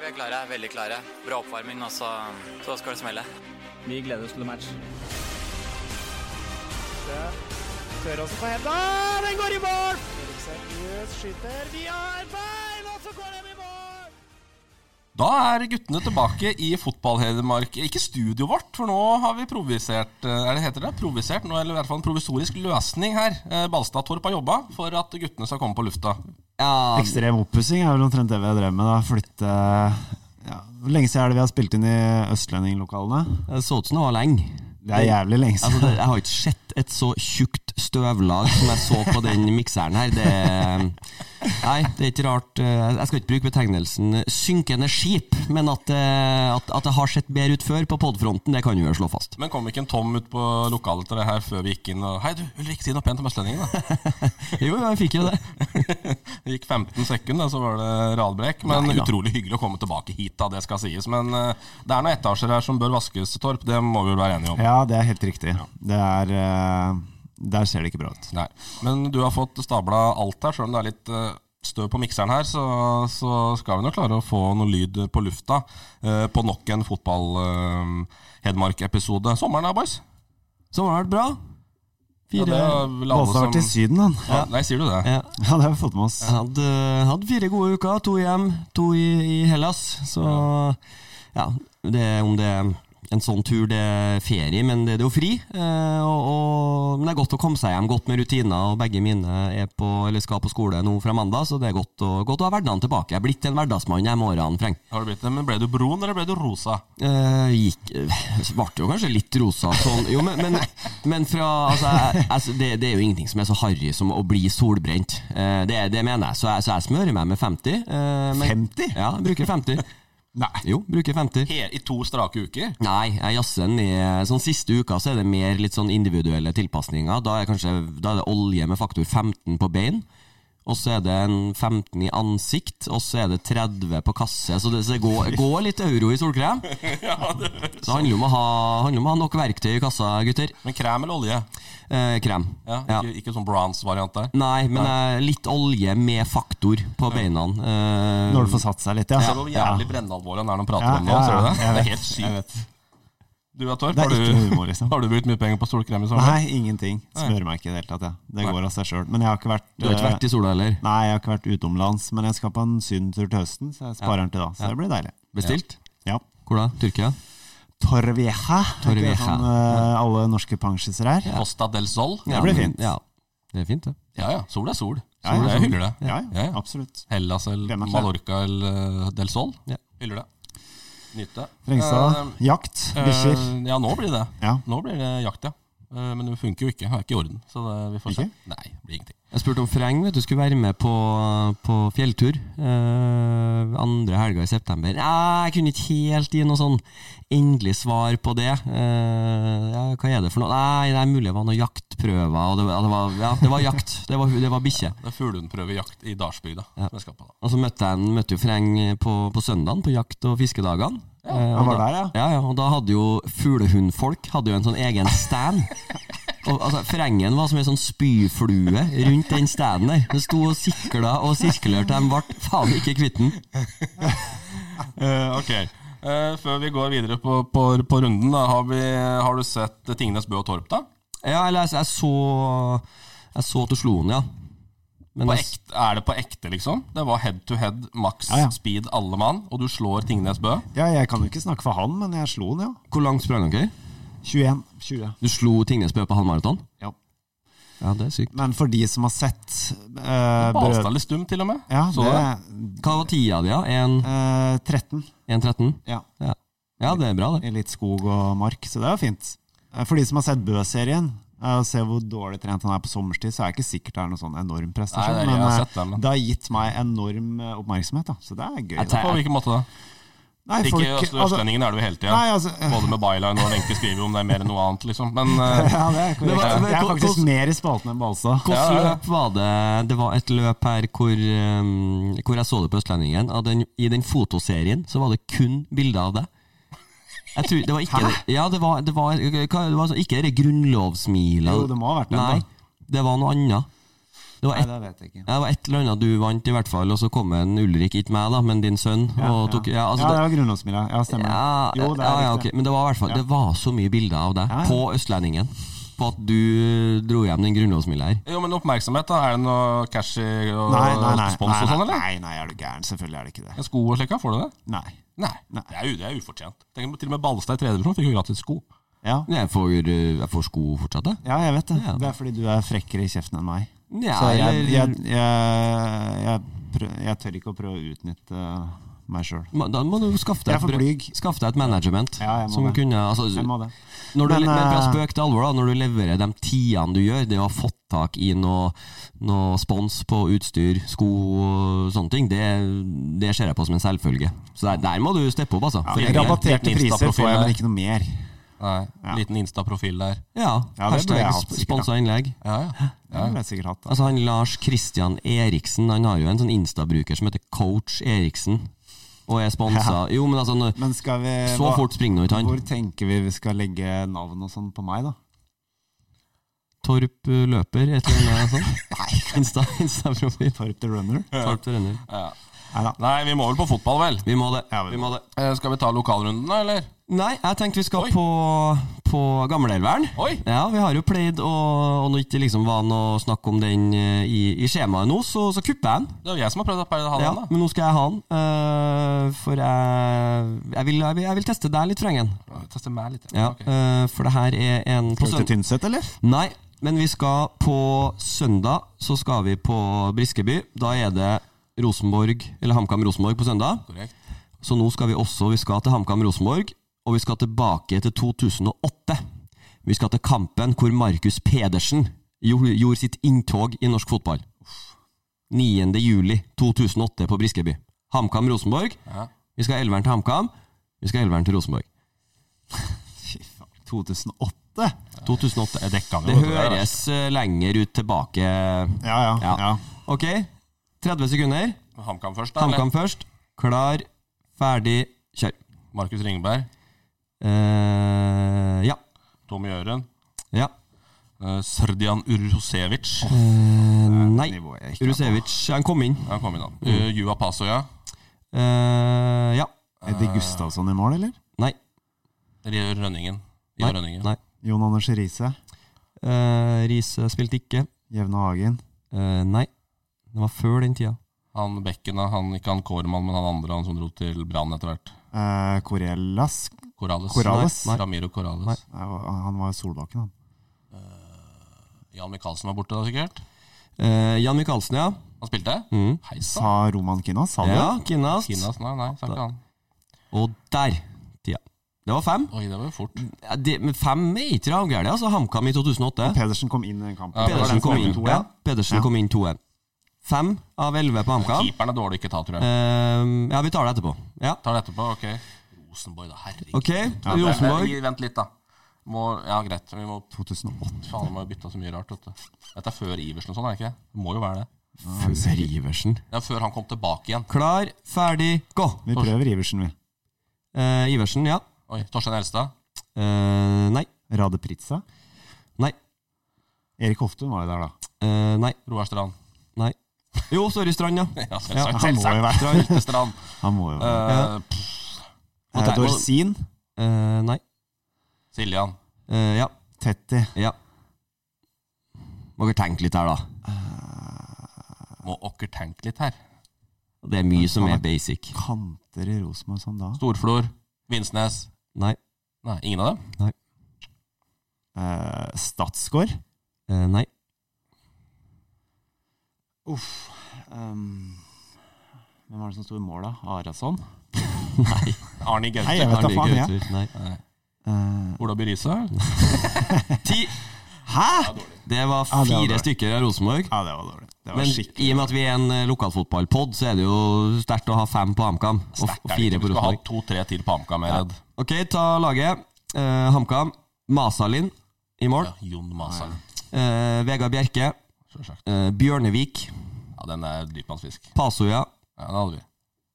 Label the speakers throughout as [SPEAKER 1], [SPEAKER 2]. [SPEAKER 1] Vi er klare, veldig klare. Bra oppvarming, og så, så skal det smelle.
[SPEAKER 2] Vi gleder oss til match.
[SPEAKER 3] Tør også på henda. Den går i mål! Eriksen ut, skyter via bein, og så går den i mål!
[SPEAKER 4] Da er guttene tilbake i Fotball-Hedmark. Ikke studioet vårt, for nå har vi provisert eh, Er det heter det? Provisert nå, eller i hvert fall en provisorisk løsning her. Eh, Balstadtorp har jobba for at guttene skal komme på lufta.
[SPEAKER 5] Ja,
[SPEAKER 3] Ekstrem oppussing er vel omtrent det vi har drevet med. da Flytte ja. Hvor lenge siden er det vi har spilt inn i Østlendinglokalene?
[SPEAKER 5] det så ut som det var lenge.
[SPEAKER 3] Det er jævlig lenge
[SPEAKER 5] Altså,
[SPEAKER 3] siden.
[SPEAKER 5] det, jeg har ikke sett et så tjukt støvlag som jeg så på den mikseren her. Det, nei, det er ikke rart eh, Jeg skal ikke bruke betegnelsen synkende skip, men at, eh, at, at det har sett bedre ut før på podfronten, det kan vi jo slå fast.
[SPEAKER 4] Men kom ikke en Tom ut på lokalet til det her før vi gikk inn og Hei, du, Ulrik, si noe pent om østlendingen, da.
[SPEAKER 5] Jo, jeg fikk jo det.
[SPEAKER 4] Det gikk 15 sekunder, så var det radbrekk. Men
[SPEAKER 5] Nei da.
[SPEAKER 4] utrolig hyggelig å komme tilbake hit, da. Det skal sies. Men eh, det er noen etasjer her som bør vaskes, Torp. Det må vi vel være enige om.
[SPEAKER 3] Ja, det er helt riktig. Det er eh, Der ser det ikke bra ut.
[SPEAKER 4] Nei. Men du har fått stabla alt her, selv om det er litt eh, støv på mikseren her, så, så skal vi nok klare å få noe lyd på lufta eh, på nok en fotball-Hedmark-episode. Sommeren er, boys.
[SPEAKER 5] Sommeren har vært bra.
[SPEAKER 4] Ja,
[SPEAKER 5] Fire
[SPEAKER 4] er vel alle
[SPEAKER 3] Båstad har vært i
[SPEAKER 4] som-
[SPEAKER 3] Syden, han.
[SPEAKER 4] ja. Nei, sier du det?
[SPEAKER 5] ja.
[SPEAKER 3] Ja, det har vi fått med oss.
[SPEAKER 5] Jeg hadde, hadde fire gode uker. To hjem, to i, i Hellas. Så ja, det, om det er en sånn tur det er ferie, men det er det jo fri. Eh, og, og, men det er godt å komme seg hjem, godt med rutiner. Og begge mine er på, eller skal på skole nå fra mandag, så det er godt å, godt å ha hverdagen tilbake. Jeg er blitt en hverdagsmann jeg med årene, Freng.
[SPEAKER 4] Har du blitt det? Men ble du brun, eller ble du rosa?
[SPEAKER 5] Eh, gikk eh, Ble jo kanskje litt rosa sånn. Jo, men, men, men fra altså, jeg, altså, det, det er jo ingenting som er så harry som å bli solbrent. Eh, det, det mener jeg. Så, jeg. så jeg smører meg med 50. eh, men-
[SPEAKER 3] 50?
[SPEAKER 5] Ja, jeg bruker 50.
[SPEAKER 4] Nei.
[SPEAKER 5] Jo, bruker 50.
[SPEAKER 4] He I to strake uker?
[SPEAKER 5] Nei, jeg jazzer den ned. Sånn siste uka så er det mer litt sånn individuelle tilpasninger. Da er, kanskje, da er det olje med faktor 15 på bein. Og så er det en 15 i ansikt, og så er det 30 på kasse. Så det, så det går, går litt euro i solkrem. Så det handler om å ha, handler om å ha nok verktøy i kassa, gutter.
[SPEAKER 4] Men krem eller olje?
[SPEAKER 5] Eh, krem.
[SPEAKER 4] Ja,
[SPEAKER 5] Ja.
[SPEAKER 4] ikke, ikke sånn bronze-variant der.
[SPEAKER 5] Nei, men eh, litt olje med faktor på beina. Eh,
[SPEAKER 3] Når det får satt seg litt, ja.
[SPEAKER 4] Ser du hvor jævlig brennalvorlig han er når han prater
[SPEAKER 3] Ja,
[SPEAKER 4] om det?
[SPEAKER 3] ja,
[SPEAKER 4] Ser du det?
[SPEAKER 3] ja, jeg
[SPEAKER 4] det er
[SPEAKER 3] vet,
[SPEAKER 4] helt
[SPEAKER 3] jeg
[SPEAKER 4] sykt. Du da, Torp,
[SPEAKER 3] Det
[SPEAKER 4] har
[SPEAKER 3] er ikke noe
[SPEAKER 4] du,
[SPEAKER 3] humor, liksom.
[SPEAKER 4] har du brukt mye penger på solkrem i sommer?
[SPEAKER 3] Nei, ingenting. Smører meg ikke i det hele tatt, jeg. Det går av seg sjøl. Men jeg har ikke vært
[SPEAKER 5] du har ikke
[SPEAKER 3] eh,
[SPEAKER 5] vært i sola heller?
[SPEAKER 3] Nei, jeg har ikke vært utenlands. Men jeg skal på en sydentur til høsten, så jeg sparer den til da. Så det blir deilig.
[SPEAKER 5] Bestilt?
[SPEAKER 3] Ja.
[SPEAKER 5] Hvor da? Tyrkia?
[SPEAKER 3] Torvieja. Er ikke det
[SPEAKER 5] Torrevieja.
[SPEAKER 3] Sånn, eh, alle norske pensjiser her. Ja.
[SPEAKER 4] Costa del Sol?
[SPEAKER 3] Det blir fint.
[SPEAKER 5] Ja, det er fint, det.
[SPEAKER 4] Ja ja, sol er sol.
[SPEAKER 3] Ja, ja.
[SPEAKER 4] Sol, Jeg hyller det.
[SPEAKER 3] Ja,
[SPEAKER 4] Ja, ja.
[SPEAKER 3] absolutt.
[SPEAKER 4] Hellas eller
[SPEAKER 3] Hvem er klar?
[SPEAKER 4] Mallorca eller eh, del Sol.
[SPEAKER 5] Ja.
[SPEAKER 4] Hyller det. Nyt det.
[SPEAKER 3] Frengstad, jakt,
[SPEAKER 4] Eh,
[SPEAKER 3] bikkjer.
[SPEAKER 4] eh, Ja, nå blir det
[SPEAKER 3] Ja.
[SPEAKER 4] Nå blir det jakt, ja. Eh, Men det funker jo ikke. Det er ikke i orden. Så det, vi får se.
[SPEAKER 3] Ikke?
[SPEAKER 4] Nei, det blir ingenting.
[SPEAKER 5] Jeg spurte om Freng vet du, skulle være med på, på fjelltur eh, andre helga i september. Nei, jeg kunne ikke helt gi noe sånn endelig svar på det. Eh, ja, hva er det for noe? Nei, det er mulig det var noen jaktprøver. Og det, var- det var, ja, det var jakt. Det var, det var bikkje.
[SPEAKER 4] Det er fuglehundprøvejakt i Dalsbygda.
[SPEAKER 5] Ja.
[SPEAKER 4] som jeg skal på da.
[SPEAKER 5] Og så møtte jeg en- møtte jo Freng på, på søndagen på jakt- og fiskedagene. Eh,
[SPEAKER 3] Han
[SPEAKER 5] og
[SPEAKER 3] var
[SPEAKER 5] da-
[SPEAKER 3] der, ja.
[SPEAKER 5] Ja, ja, og da hadde jo fuglehundfolk hadde jo en sånn egen stand. Og, altså, Frengen var som en sånn spyflue rundt den standen der. Det sto og sikla og sirkulerte, de ble faen ikke kvitt den.
[SPEAKER 4] Eh, ok. Eh, før vi går videre på, på, på runden, da, har, vi, har du sett Tingnes Bø og Torp, da?
[SPEAKER 5] Ja, eller altså, jeg, jeg så Jeg så at du slo den, ja. Men
[SPEAKER 4] På
[SPEAKER 5] jeg-
[SPEAKER 4] ekte, er det på ekte, liksom? Det var head to head, maks
[SPEAKER 3] Ja, ja.
[SPEAKER 4] speed, alle mann, og du slår Tingnes Bø?
[SPEAKER 3] Ja, jeg kan jo ikke snakke for han, men jeg slo han, ja.
[SPEAKER 5] hvor langt sprang dere?
[SPEAKER 3] 21. 20.
[SPEAKER 5] Du slo Tingnes Bø på halvmaraton?
[SPEAKER 3] Ja.
[SPEAKER 5] Ja, det er sykt.
[SPEAKER 3] Men for de som har sett uh,
[SPEAKER 4] Balstad eller Stum, til og med?
[SPEAKER 3] Ja,
[SPEAKER 4] Så
[SPEAKER 3] det,
[SPEAKER 5] Hva var tida di, da? En-
[SPEAKER 3] eh, 13.
[SPEAKER 5] 1.13?
[SPEAKER 3] Ja.
[SPEAKER 5] Ja. ja, det er bra, det.
[SPEAKER 3] I litt skog og mark, så det er jo fint. Eh, For de som har sett Bø-serien, eh, og ser hvor dårlig trent han er på sommerstid, så er det ikke sikkert det er noen sånn enorm prestasjon.
[SPEAKER 4] Nei, det er- jeg har
[SPEAKER 3] eh,
[SPEAKER 4] sett den, men-
[SPEAKER 3] det har gitt meg enorm eh, oppmerksomhet, da. så det er gøy.
[SPEAKER 5] Jeg
[SPEAKER 3] da.
[SPEAKER 4] På hvilken måte da?
[SPEAKER 3] Nei,
[SPEAKER 4] Ikke
[SPEAKER 3] folk-
[SPEAKER 4] øst-
[SPEAKER 3] altså-
[SPEAKER 4] Østlendingen er det jo hele tida.
[SPEAKER 3] Nei, altså, eh,
[SPEAKER 4] Både med byline og Wenche skriver jo om det er mer enn noe annet, liksom. Men eh,
[SPEAKER 3] ja, det er
[SPEAKER 5] Men hva-
[SPEAKER 3] korrekt. Jeg er
[SPEAKER 5] men-
[SPEAKER 3] faktisk mer i spalten enn Balstad.
[SPEAKER 5] Hvilket
[SPEAKER 4] Ja, ja, ja.
[SPEAKER 5] løp var det? Det var et løp her hvor, um, hvor jeg så det på Østlendingen. Av den, I den fotoserien så var det kun bilder av deg. Jeg tror, det var ikke Ja, det var, det var, altså hva, det var så- ikke det grunnlovssmilet.
[SPEAKER 3] Jo, det må ha vært den,
[SPEAKER 5] Nei,
[SPEAKER 3] da.
[SPEAKER 5] det var noe annet. Det var
[SPEAKER 3] Nei,
[SPEAKER 5] et
[SPEAKER 3] det vet jeg ikke.
[SPEAKER 5] ja, det var et eller annet du vant, i hvert fall, og så kom en Ulrik, ikke meg, da, men din sønn. og tok, ja, altså,
[SPEAKER 3] ja,
[SPEAKER 5] det-
[SPEAKER 3] det var grunnlovsmila. Ja, stemmer. det.
[SPEAKER 5] ja,
[SPEAKER 3] jo, det er
[SPEAKER 5] ja, ja,
[SPEAKER 3] riktig.
[SPEAKER 5] ok. Men det var i hvert fall Det var så mye bilder av deg
[SPEAKER 3] Ja, ja.
[SPEAKER 5] på Østlendingen. På at du dro hjem den grunnlovsmila her.
[SPEAKER 4] Jo, men oppmerksomhet, da. Er det noe cash i- og
[SPEAKER 3] Nei, nei, nei.
[SPEAKER 4] spons og
[SPEAKER 3] nei,
[SPEAKER 4] sånn,
[SPEAKER 3] nei,
[SPEAKER 4] eller?
[SPEAKER 3] nei, nei, er du gæren? Selvfølgelig er det ikke det.
[SPEAKER 4] En Sko og slikka, får du det?
[SPEAKER 3] Nei.
[SPEAKER 4] Nei.
[SPEAKER 3] Nei.
[SPEAKER 4] Det, er, jo- det er ufortjent. Tenk, til og med Balstad i tredje divisjon fikk jo gratis sko.
[SPEAKER 3] Ja.
[SPEAKER 5] Jeg får, eh, jeg får sko fortsatt, jeg.
[SPEAKER 3] ja, jeg vet det.
[SPEAKER 5] Ja.
[SPEAKER 3] Det er fordi du er frekkere i kjeften enn meg.
[SPEAKER 5] Ja,
[SPEAKER 3] Så jeg,
[SPEAKER 5] eller-
[SPEAKER 3] jeg, jeg, jeg, prø- jeg tør ikke å prøve å utnytte eh, meg sjøl.
[SPEAKER 5] Ma- Da må du skaffe deg,
[SPEAKER 3] Jeg er for
[SPEAKER 5] et bra-
[SPEAKER 3] blyg.
[SPEAKER 5] skaffe deg et management.
[SPEAKER 3] Ja, jeg må
[SPEAKER 5] som
[SPEAKER 3] det.
[SPEAKER 5] kunne, altså,
[SPEAKER 3] Jeg må det.
[SPEAKER 5] Når du,
[SPEAKER 3] Men,
[SPEAKER 5] men, fra
[SPEAKER 3] eh,
[SPEAKER 5] spøk til alvor, da, når du leverer de tidene du gjør, det å ha fått tak i noe, noe spons på utstyr, sko og sånne ting, det, det ser jeg på som en selvfølge. Så der, der må du steppe opp, altså. For
[SPEAKER 3] Ja,
[SPEAKER 5] egen del.
[SPEAKER 3] rabatterte
[SPEAKER 4] liten
[SPEAKER 3] priser får jeg,
[SPEAKER 4] Insta-profil
[SPEAKER 3] men ikke noe mer.
[SPEAKER 4] Nei, Liten Insta-profil der.
[SPEAKER 5] ja,
[SPEAKER 3] Ja, det burde jeg hatt,
[SPEAKER 5] hashtag
[SPEAKER 3] sikkert,
[SPEAKER 5] sponsa innlegg.
[SPEAKER 4] Ja, ja.
[SPEAKER 3] Det ville jeg sikkert hatt. Da.
[SPEAKER 5] Altså han Lars Christian Eriksen, han har jo en sånn Insta-bruker som heter Coach Eriksen, og er sponsa. Jo, men altså, nå-
[SPEAKER 3] Men skal vi
[SPEAKER 5] så fort springer nå ikke han.
[SPEAKER 3] Hvor tenker vi vi skal legge navn og sånn på meg, da?
[SPEAKER 5] Torp eh, løper, et eller annet sånt. Insta- Insta-profil.
[SPEAKER 3] Torp the Runner?
[SPEAKER 5] Torp til renner.
[SPEAKER 3] Nei da.
[SPEAKER 4] Nei, vi må vel på fotball, vel?
[SPEAKER 5] Vi må det.
[SPEAKER 3] Ja, vi
[SPEAKER 5] Vi må det.
[SPEAKER 4] Eh, skal vi ta lokalrunden, da, eller?
[SPEAKER 5] Nei, jeg tenkte vi skal
[SPEAKER 4] Oi.
[SPEAKER 5] på, på Gamleelveren.
[SPEAKER 4] Oi!
[SPEAKER 5] Ja, vi har jo pleid, og, og når ikke liksom var noe snakk om den eh, i, i skjemaet nå, så, så kupper jeg den.
[SPEAKER 4] Det er jo jeg som har prøvd å pære ha
[SPEAKER 5] Ja,
[SPEAKER 4] den, da.
[SPEAKER 5] men nå skal jeg ha den, eh, for jeg, jeg, vil, jeg, vil, jeg vil teste deg litt, Frengen.
[SPEAKER 4] Teste meg litt.
[SPEAKER 5] Ja,
[SPEAKER 4] ok.
[SPEAKER 5] eh, for det her er en på
[SPEAKER 3] Skal vi
[SPEAKER 5] søndag.
[SPEAKER 3] til Tynset, eller?
[SPEAKER 5] Nei, men vi skal på søndag, så skal vi på Briskeby. Da er det Rosenborg, eller HamKam-Rosenborg på søndag.
[SPEAKER 4] Korrekt.
[SPEAKER 5] Så nå skal vi også vi skal til HamKam Rosenborg, og vi skal tilbake til 2008. Vi skal til kampen hvor Markus Pedersen jo- gjorde sitt inntog i norsk fotball. 9. juli 2008 på Briskeby. HamKam Rosenborg.
[SPEAKER 4] Ja.
[SPEAKER 5] Vi skal elveren til HamKam, vi skal elveren til Rosenborg.
[SPEAKER 3] Fy faen. 2008?
[SPEAKER 5] 2008.
[SPEAKER 4] Jeg dekka den
[SPEAKER 5] Det
[SPEAKER 4] jo, vet du, der,
[SPEAKER 5] høres eh, lenger ut tilbake.
[SPEAKER 3] Ja, ja.
[SPEAKER 5] Ja.
[SPEAKER 3] ja.
[SPEAKER 5] Ok, 30 sekunder.
[SPEAKER 4] da. HamKam først, da. eller?
[SPEAKER 5] HamKam først. Klar, ferdig, kjør.
[SPEAKER 4] Markus Ringberg.
[SPEAKER 5] Eh, ja.
[SPEAKER 4] Tom Gjøren.
[SPEAKER 5] Ja.
[SPEAKER 4] eh, Srdjan Urhosevic.
[SPEAKER 5] Eh, nei.
[SPEAKER 3] Nivået jeg ikke er på.
[SPEAKER 5] Rusevic, han kom inn.
[SPEAKER 4] Ja, kom inn, da.
[SPEAKER 5] Mm.
[SPEAKER 4] Eh, Juha Pasoja.
[SPEAKER 5] Eh, ja.
[SPEAKER 3] Eddie Gustavsson i mål, eller?
[SPEAKER 5] Nei.
[SPEAKER 4] Eller Rønningen. Ja,
[SPEAKER 5] Nei.
[SPEAKER 4] Rønningen.
[SPEAKER 5] nei.
[SPEAKER 3] Jon Anders Riise?
[SPEAKER 5] Eh, Riise spilte ikke.
[SPEAKER 3] Jevne Hagen?
[SPEAKER 5] Eh, nei. Det var før den tida.
[SPEAKER 4] Han Bekken, da. Han, ikke han Kårmann, men han andre han som dro til Brann etter hvert.
[SPEAKER 3] Eh, Corellas?
[SPEAKER 4] Corrales.
[SPEAKER 3] Corrales?
[SPEAKER 5] Nei, nei.
[SPEAKER 4] Ramiro Corrales.
[SPEAKER 5] Nei.
[SPEAKER 3] Nei, Han var jo Solbakken, han.
[SPEAKER 4] Jan Michaelsen var borte da, sikkert.
[SPEAKER 5] Eh, Jan Michaelsen, ja.
[SPEAKER 4] Han spilte?
[SPEAKER 5] Mm.
[SPEAKER 4] Hei sann.
[SPEAKER 3] Sa Roman Kinas, sa du?
[SPEAKER 5] Ja, Kinnast.
[SPEAKER 4] Kinas, nei, nei, sa ikke han.
[SPEAKER 5] Og der tida. Det var fem.
[SPEAKER 4] Oi, det var jo fort.
[SPEAKER 5] Ja, det, men fem er ikke ravgæli, altså. HamKam i 2008.
[SPEAKER 3] Pedersen kom inn i den kampen.
[SPEAKER 4] Ja, det var den
[SPEAKER 5] Pedersen
[SPEAKER 4] som
[SPEAKER 5] kom
[SPEAKER 4] endte
[SPEAKER 5] inn
[SPEAKER 3] 2-1.
[SPEAKER 5] ja, Pedersen
[SPEAKER 3] Ja.
[SPEAKER 5] kom inn 2-1. Fem av elleve på HamKam.
[SPEAKER 4] Keeperen er dårlig ikke ta, tror jeg.
[SPEAKER 5] Eh, ja, vi tar det etterpå. Ja.
[SPEAKER 4] Tar det etterpå, ok. Rosenborg, da. Herregud.
[SPEAKER 5] Ok,
[SPEAKER 4] Nei,
[SPEAKER 5] Rosenborg.
[SPEAKER 4] nei, Vent litt, da. Må, ja, greit. Vi må
[SPEAKER 3] 2008.
[SPEAKER 4] Faen, de har jo bytta så mye rart. vet du. Dette er før Iversen og sånn, er det ikke? Det må jo være det.
[SPEAKER 5] Før Iversen.
[SPEAKER 4] Det er før han kom tilbake igjen.
[SPEAKER 5] Klar, ferdig, gå!
[SPEAKER 3] Vi prøver Iversen, vi.
[SPEAKER 5] Eh, Iversen, ja.
[SPEAKER 4] Oi, Torstein Elstad.
[SPEAKER 5] Eh, nei.
[SPEAKER 3] Rade Pritza.
[SPEAKER 5] Nei.
[SPEAKER 3] Erik Hoftun var jo der, da.
[SPEAKER 5] Eh, nei.
[SPEAKER 4] Roar Strand.
[SPEAKER 5] Nei. Jo, sorry, Strand, ja.
[SPEAKER 4] Ja, selvsagt.
[SPEAKER 3] han må jo
[SPEAKER 4] Selvsagt.
[SPEAKER 3] være
[SPEAKER 4] Strand. Strand.
[SPEAKER 3] Han må jo
[SPEAKER 4] Eh,
[SPEAKER 3] være
[SPEAKER 4] pff,
[SPEAKER 5] og
[SPEAKER 3] Eh,
[SPEAKER 5] der-
[SPEAKER 3] Dorsin.
[SPEAKER 5] Eh, nei.
[SPEAKER 4] Siljan.
[SPEAKER 5] Eh, ja.
[SPEAKER 3] Tetti.
[SPEAKER 5] Ja. Må dere tenke litt her, da.
[SPEAKER 4] Må okker tenke litt her.
[SPEAKER 5] Det er mye som er basic.
[SPEAKER 3] Kanter i Rosenborg som da.
[SPEAKER 4] Storflor. Vinsnes.
[SPEAKER 5] Nei.
[SPEAKER 4] Nei, ingen av dem?
[SPEAKER 3] Eh, Statsgård.
[SPEAKER 5] Eh, nei.
[SPEAKER 3] Uff. ehm, hvem var det som sto i mål, da? Arason?
[SPEAKER 5] Nei.
[SPEAKER 4] Arni
[SPEAKER 3] Nei,
[SPEAKER 4] Gaute.
[SPEAKER 3] jeg vet da
[SPEAKER 5] Arne
[SPEAKER 3] faen, jeg.
[SPEAKER 5] Gautur, Nei.
[SPEAKER 3] Eh,
[SPEAKER 4] Ola By Riise.
[SPEAKER 5] Ti!
[SPEAKER 3] hæ?!
[SPEAKER 5] Det var
[SPEAKER 3] Ja, det var
[SPEAKER 5] fire
[SPEAKER 3] dårlig.
[SPEAKER 5] stykker av Rosenborg.
[SPEAKER 3] Ja, det var dårlig. Det var
[SPEAKER 5] Men
[SPEAKER 3] skikkelig
[SPEAKER 5] i og med at vi er en eh, lokalfotballpod, så er det jo sterkt å ha fem på HamKam og, og fire
[SPEAKER 4] Du
[SPEAKER 5] på
[SPEAKER 4] skulle
[SPEAKER 5] Rosenborg.
[SPEAKER 4] hatt to-tre til på HamKam. jeg er redd.
[SPEAKER 5] Ok, ta laget. Eh, HamKam. Masalin i mål.
[SPEAKER 4] Ja, Jon Masal.
[SPEAKER 5] Eh, Vegard Bjerke.
[SPEAKER 4] Sjølsagt.
[SPEAKER 5] Eh, Bjørnevik.
[SPEAKER 4] Ja, den er dypvannsfisk.
[SPEAKER 5] Pasoja.
[SPEAKER 4] Ja, den hadde vi.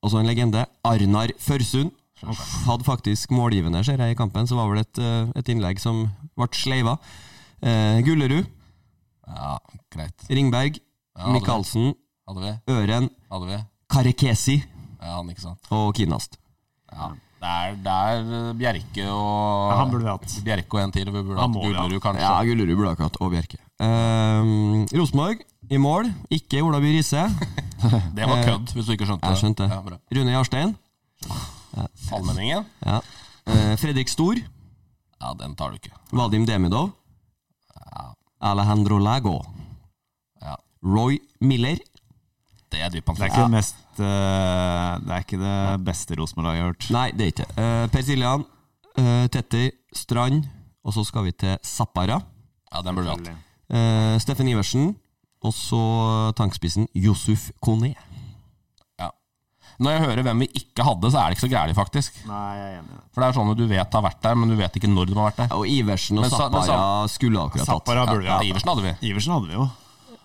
[SPEAKER 5] Og så en legende. Arnar Førsund.
[SPEAKER 4] Sjølsagt.
[SPEAKER 5] Hadde faktisk målgivende, ser jeg, i kampen. Så var vel et, eh, et innlegg som ble sleiva. Eh, Gullerud.
[SPEAKER 4] Ja, greit.
[SPEAKER 5] Ringberg.
[SPEAKER 4] Ja, hadde vi.
[SPEAKER 5] Michaelsen,
[SPEAKER 4] Hadde vi.
[SPEAKER 5] Øren,
[SPEAKER 4] Hadde vi.
[SPEAKER 5] Karekesi
[SPEAKER 4] Ja, han, ikke sant.
[SPEAKER 5] og Kinast.
[SPEAKER 4] Ja. Det er, det er eh, Bjerke og
[SPEAKER 3] Ja, han burde vi hatt.
[SPEAKER 4] Bjerke og en til. og Vi burde hatt
[SPEAKER 3] Han må vi ha.
[SPEAKER 4] Gullerud, kanskje.
[SPEAKER 5] Ja, Gullerud, Blakatt og Bjerke. Uh, Rosenborg i mål, ikke Ola By Riise.
[SPEAKER 4] Det var kødd, hvis du ikke skjønte
[SPEAKER 5] Jeg skjønte.
[SPEAKER 4] Ja, bra.
[SPEAKER 5] Rune Jarstein.
[SPEAKER 4] Allmenningen?
[SPEAKER 5] Ja. Eh, Fredrik Stor.
[SPEAKER 4] Ja, den tar du ikke.
[SPEAKER 5] Vadim Demidov.
[SPEAKER 4] Ja.
[SPEAKER 5] Alejandro Lago.
[SPEAKER 4] Ja.
[SPEAKER 5] Roy Miller.
[SPEAKER 4] Det er dypt
[SPEAKER 3] Det er ikke det mest eh, Det er ikke det beste Rosenborg-laget jeg har hørt.
[SPEAKER 5] Nei, det er ikke det. Eh, per Siljan. eh, Tetti. Strand. Og så skal vi til Zappara.
[SPEAKER 4] Ja, den burde vi hatt.
[SPEAKER 5] Eh, Steffen Iversen. Og så tankspissen Josef Kone.
[SPEAKER 4] Ja. Når jeg hører hvem vi ikke hadde, så er det ikke så gærent, faktisk.
[SPEAKER 3] Nei, jeg er enig i det.
[SPEAKER 4] For det er sånne du vet har vært der, men du vet ikke når de har vært der.
[SPEAKER 5] Og Iversen og
[SPEAKER 4] Men sa- men
[SPEAKER 5] Zappara skulle akkurat hatt.
[SPEAKER 3] Zappara burde vi
[SPEAKER 4] Ja,
[SPEAKER 3] hatt.
[SPEAKER 4] Iversen hadde vi,
[SPEAKER 3] Iversen hadde vi jo.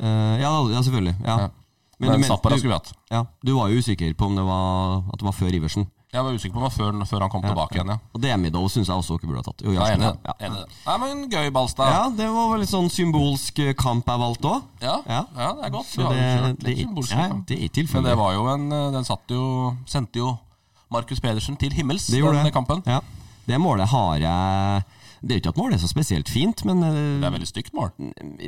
[SPEAKER 5] Eh, ja, ja, selvfølgelig. Ja.
[SPEAKER 4] Ja. men
[SPEAKER 5] Men, du, mente,
[SPEAKER 4] Zappara
[SPEAKER 5] du,
[SPEAKER 4] skulle vi hatt.
[SPEAKER 5] ja, du var jo usikker på om det var, at det var før Iversen.
[SPEAKER 4] Jeg var usikker på om det var før, før han kom tilbake igjen, ja.
[SPEAKER 5] Og Demidov syns jeg også dere burde ha tatt. Jo,
[SPEAKER 4] Ja,
[SPEAKER 5] Jarstein,
[SPEAKER 4] enig i
[SPEAKER 5] ja.
[SPEAKER 4] det. Enig i det. Nei, men gøy, Balstad.
[SPEAKER 5] Ja, det var vel litt sånn symbolsk eh, kamp jeg valgte òg.
[SPEAKER 4] Ja. Ja.
[SPEAKER 5] Ja.
[SPEAKER 4] det er godt. Vi
[SPEAKER 5] Så
[SPEAKER 4] har
[SPEAKER 5] det,
[SPEAKER 4] jo kjørt
[SPEAKER 5] det,
[SPEAKER 4] litt symbolsk.
[SPEAKER 5] ja,
[SPEAKER 4] kamp.
[SPEAKER 5] det
[SPEAKER 4] Men
[SPEAKER 5] er
[SPEAKER 4] det
[SPEAKER 5] tilfellet.
[SPEAKER 4] var jo en eh, Den satt jo Sendte jo Markus Pedersen til himmels,
[SPEAKER 5] Det gjorde
[SPEAKER 4] den
[SPEAKER 5] det.
[SPEAKER 4] kampen.
[SPEAKER 5] Ja. Det målet har jeg Det er jo ikke at målet er så spesielt fint, men
[SPEAKER 4] Det
[SPEAKER 5] eh,
[SPEAKER 4] er veldig stygt mål.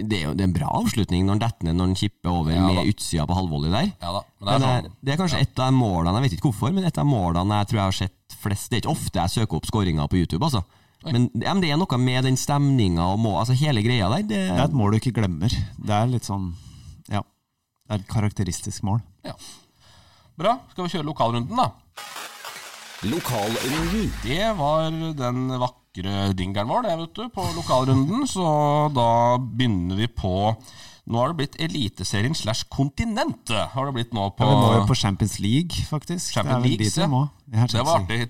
[SPEAKER 5] det er jo det er en bra avslutning når han detter ned når han kipper over
[SPEAKER 4] Ja, da.
[SPEAKER 5] med utsida på halvvolley der.
[SPEAKER 4] Ja da. Men det
[SPEAKER 5] Men
[SPEAKER 4] er
[SPEAKER 5] det er,
[SPEAKER 4] sånn
[SPEAKER 5] det er kanskje et av målene Jeg vet ikke hvorfor, men et av målene jeg tror jeg har sett flest Det er ikke ofte jeg søker opp skåringer på YouTube, altså. Men, ja, men det er noe med den stemninga og må, altså hele greia der. Det,
[SPEAKER 3] Det er et mål du ikke glemmer. Det er litt sånn Ja. Det er et karakteristisk mål.
[SPEAKER 4] Ja. Bra. Skal vi kjøre lokalrunden, da?
[SPEAKER 2] Lokalrunden.
[SPEAKER 4] Det var den vakre dingeren vår, det, vet du, på lokalrunden. Så da begynner vi på Nå har det blitt Eliteserien slash Kontinentet. Har det blitt nå på
[SPEAKER 3] Ja, vi må jo på Champions League, faktisk.
[SPEAKER 4] Champions
[SPEAKER 3] det er vel
[SPEAKER 4] League,
[SPEAKER 3] dit vi
[SPEAKER 4] ja.
[SPEAKER 3] må. Ja,
[SPEAKER 4] Det var artig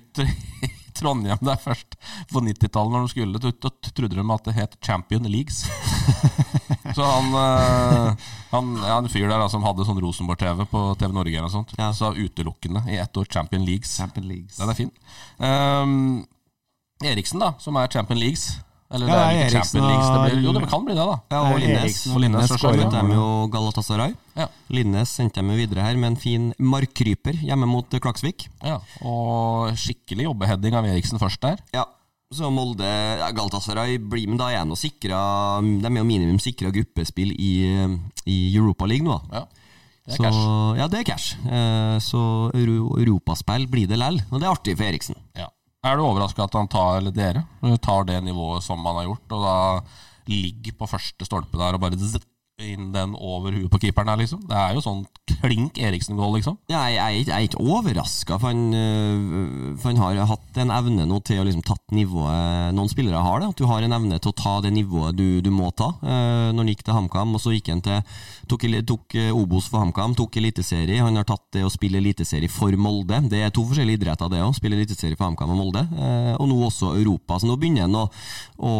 [SPEAKER 4] i Trondheim der først, på 90-tallet, når de skulle ut, da trodde de at det het Champion Leagues. så han, eh, han ja, en fyr der da, som hadde sånn Rosenborg-TV på TV Norge eller noe sånt,
[SPEAKER 5] Ja.
[SPEAKER 4] sa utelukkende i ett år Champion Leagues.
[SPEAKER 3] Champions League.
[SPEAKER 4] Den er fin. Ehm, Eriksen, da, som er Champion Leagues. Eller det
[SPEAKER 3] Ja,
[SPEAKER 4] er vel ikke
[SPEAKER 3] Eriksen
[SPEAKER 4] Champion Leagues, det blir, jo det
[SPEAKER 3] og-
[SPEAKER 4] kan bli det, da.
[SPEAKER 5] ja, og
[SPEAKER 3] Det er
[SPEAKER 5] Linnes.
[SPEAKER 3] Eriksen
[SPEAKER 4] og Linnes
[SPEAKER 5] Så
[SPEAKER 4] første gang.
[SPEAKER 5] sendte de jo Galatasaray.
[SPEAKER 4] Ja.
[SPEAKER 5] Linnes sendte dem jo videre her med en fin markkryper hjemme mot eh, Klaksvik.
[SPEAKER 4] Ja, og skikkelig jobbeheading av Eriksen først der.
[SPEAKER 5] Ja, så Molde ja, Galatasaray blir men da er nå sikra De er jo minimum sikra gruppespill i, i Europa League nå, da.
[SPEAKER 4] Ja, det er
[SPEAKER 5] så,
[SPEAKER 4] cash.
[SPEAKER 5] Ja, det er cash. Eh, så euro, europaspill blir det lell, og det er artig for Eriksen.
[SPEAKER 4] Ja. Er du overraska at han tar, eller dere, eh, tar det nivået som han har gjort, og da ligger på første stolpe der og bare zzz, inn den over huet på keeperen her, liksom? Det er jo sånn klink Eriksen-gål, liksom.
[SPEAKER 5] Ja, jeg, jeg, er ikke- jeg er ikke overraska, for, han, øh, for han har hatt en evne nå til å liksom tatt nivået Noen spillere har det, at du har en evne til å ta det nivået du, du må ta. Eh, Når han gikk til HamKam, og så gikk han til Tok, ele- tok eh, Obos for HamKam, tok Eliteserie. Han har tatt det å spille Eliteserie for Molde. Det er to forskjellige idretter, det òg. Spille Eliteserie for HamKam og Molde. Eh, Og nå også Europa. Så nå begynner han å, å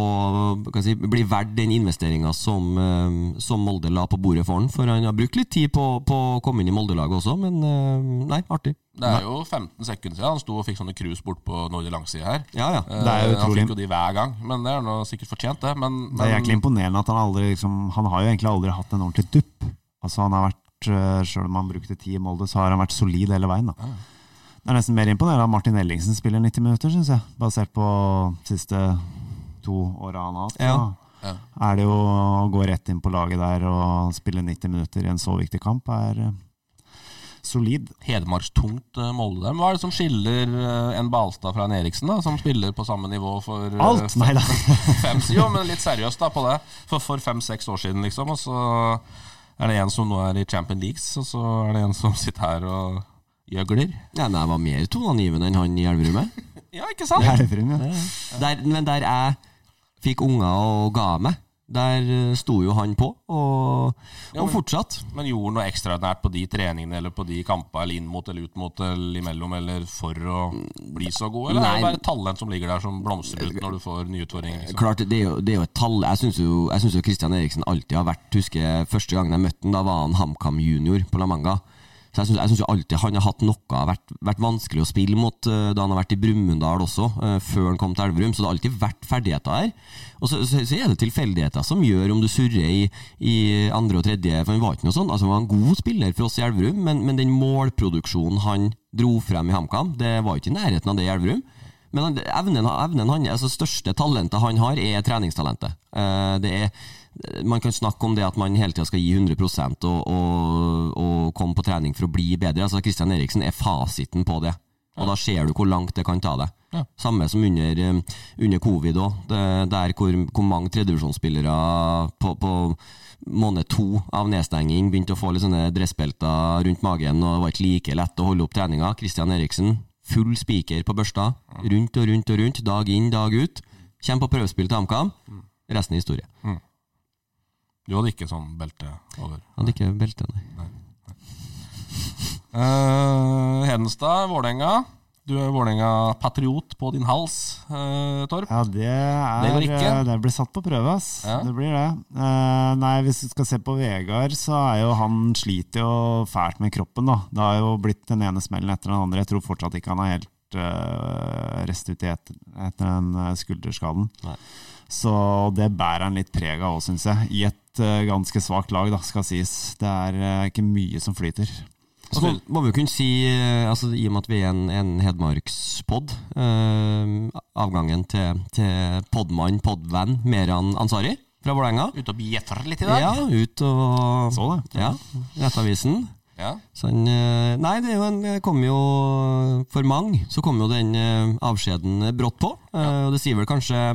[SPEAKER 5] hva skal jeg si, bli verdt den investeringa som, eh, som Molde la på bordet for han. For han har brukt litt tid på, på å komme inn i Molde-laget også, men eh, nei, artig.
[SPEAKER 4] Det er jo 15 sekunder siden han sto og fikk sånne cruise bort på nordlig langside her.
[SPEAKER 5] Ja, ja.
[SPEAKER 4] Eh,
[SPEAKER 3] Det er jo
[SPEAKER 4] han
[SPEAKER 3] utrolig.
[SPEAKER 4] fikk jo de hver gang, men det er nå sikkert fortjent, det. Men, men
[SPEAKER 3] Det er jæklig imponerende at han aldri liksom, Han har jo egentlig aldri hatt en ordentlig dupp. Altså han har vært eh, Selv om han brukte ti i Molde, så har han vært solid hele veien. Da. Det er nesten mer imponerende at Martin Ellingsen spiller 90 minutter, syns jeg. Basert på siste to åra han har hatt.
[SPEAKER 5] Ja.
[SPEAKER 4] Ja.
[SPEAKER 3] Så er det jo å gå rett inn på laget der og spille 90 minutter i en så viktig kamp, er eh, solid.
[SPEAKER 4] Hedmarkstungt eh, Molde der. Men Hva er det som skiller eh, en Balstad fra en Eriksen, da, som spiller på samme nivå for eh,
[SPEAKER 3] Alt! Nei da.
[SPEAKER 4] fem, jo, men litt seriøst da på det. For, for fem-seks år siden, liksom. Og så er det en som nå er i Champion Leagues, og så er det en som sitter her og gjøgler.
[SPEAKER 5] Ja, men jeg var mer toneangivende enn han i Elverummet.
[SPEAKER 4] Ja, ikke sant?
[SPEAKER 3] Elverum, ja.
[SPEAKER 5] Der, men der jeg fikk unger og ga meg, der eh, sto jo han på, og, og fortsatt.
[SPEAKER 4] Men gjorde han noe ekstraordinært på de treningene eller på de kampene, eller inn mot eller ut mot eller imellom, eller for å bli så god? Eller er det
[SPEAKER 5] Nei.
[SPEAKER 4] bare talent som ligger der som blomstrer ut når du får nye utfordringer? Liksom?
[SPEAKER 5] Eh, Klart, det er jo, det er jo et tall. Jeg syns jo, jeg synes jo Christian Eriksen alltid har vært Husker jeg første gangen jeg møtte han, da var han HamKam junior på La Manga. Så jeg synes, jeg synes jo alltid han har hatt noe vært, vært vanskelig å spille mot eh, da han har vært i Brumunddal også, eh, før han kom til Elverum. Så det har alltid vært ferdigheter her. Og så, så, så er det tilfeldigheter som gjør om du surrer i, i andre og tredje, for han var ikke noe sånn. Altså, han var en god spiller for oss i Elverum, men, men den målproduksjonen han dro frem i HamKam, det var ikke i nærheten av det i Elverum. Men han, evnen, evnen han, altså største talentet han har, er treningstalentet. Eh, det er, man kan snakke om det at man hele tida skal gi 100 og, og, og komme på trening for å bli bedre. Altså Christian Eriksen er fasiten på det. Og da ser du hvor langt det kan ta deg.
[SPEAKER 4] Ja.
[SPEAKER 5] Samme som under, eh, under covid òg, der hvor, hvor mange tredjevisjonsspillere på, på måned to av nedstenging begynte å få litt sånne dressbelter rundt magen, og det var ikke like lett å holde opp treninga. Christian Eriksen, full spiker på børsta, rundt og rundt og rundt, dag inn, dag ut. Kommer på prøvespill til HamKam. Resten er historie.
[SPEAKER 4] Du hadde ikke sånn belte over.
[SPEAKER 5] Hadde ikke belte, nei.
[SPEAKER 4] Eh, Hedenstad, Vålerenga. Du er Vålerenga-patriot på din hals, eh, Torp.
[SPEAKER 3] Ja, det
[SPEAKER 4] Det
[SPEAKER 3] er
[SPEAKER 4] går ikke.
[SPEAKER 3] eh, Det blir satt på prøve, ass.
[SPEAKER 4] Ja.
[SPEAKER 3] Det blir det. Eh, nei, hvis vi skal se på Vegard, så er jo han sliter jo fælt med kroppen, da. Det har jo blitt den ene smellen etter den andre. Jeg tror fortsatt ikke han er helt eh, restituert etter den eh, skulderskaden.
[SPEAKER 5] Nei.
[SPEAKER 3] Så det bærer han litt preg av òg, syns jeg. I et eh, ganske svakt lag, da, skal sies. Det er eh, ikke mye som flyter.
[SPEAKER 5] Så må, må vi jo kunne si, eh, altså, i og med at vi er en, en Hedmarkspod, eh, avgangen til, til podmann, podvenn Meran Ansari fra Vålerenga.
[SPEAKER 4] Ute og bjetter litt i
[SPEAKER 5] Ja, ut og
[SPEAKER 3] Så det.
[SPEAKER 5] Ja, Nettavisen.
[SPEAKER 4] Ja.
[SPEAKER 5] Så han, eh, nei, det er jo en, det kom jo For mange så kom jo den eh, avskjeden brått på. Eh, Og det sier vel kanskje,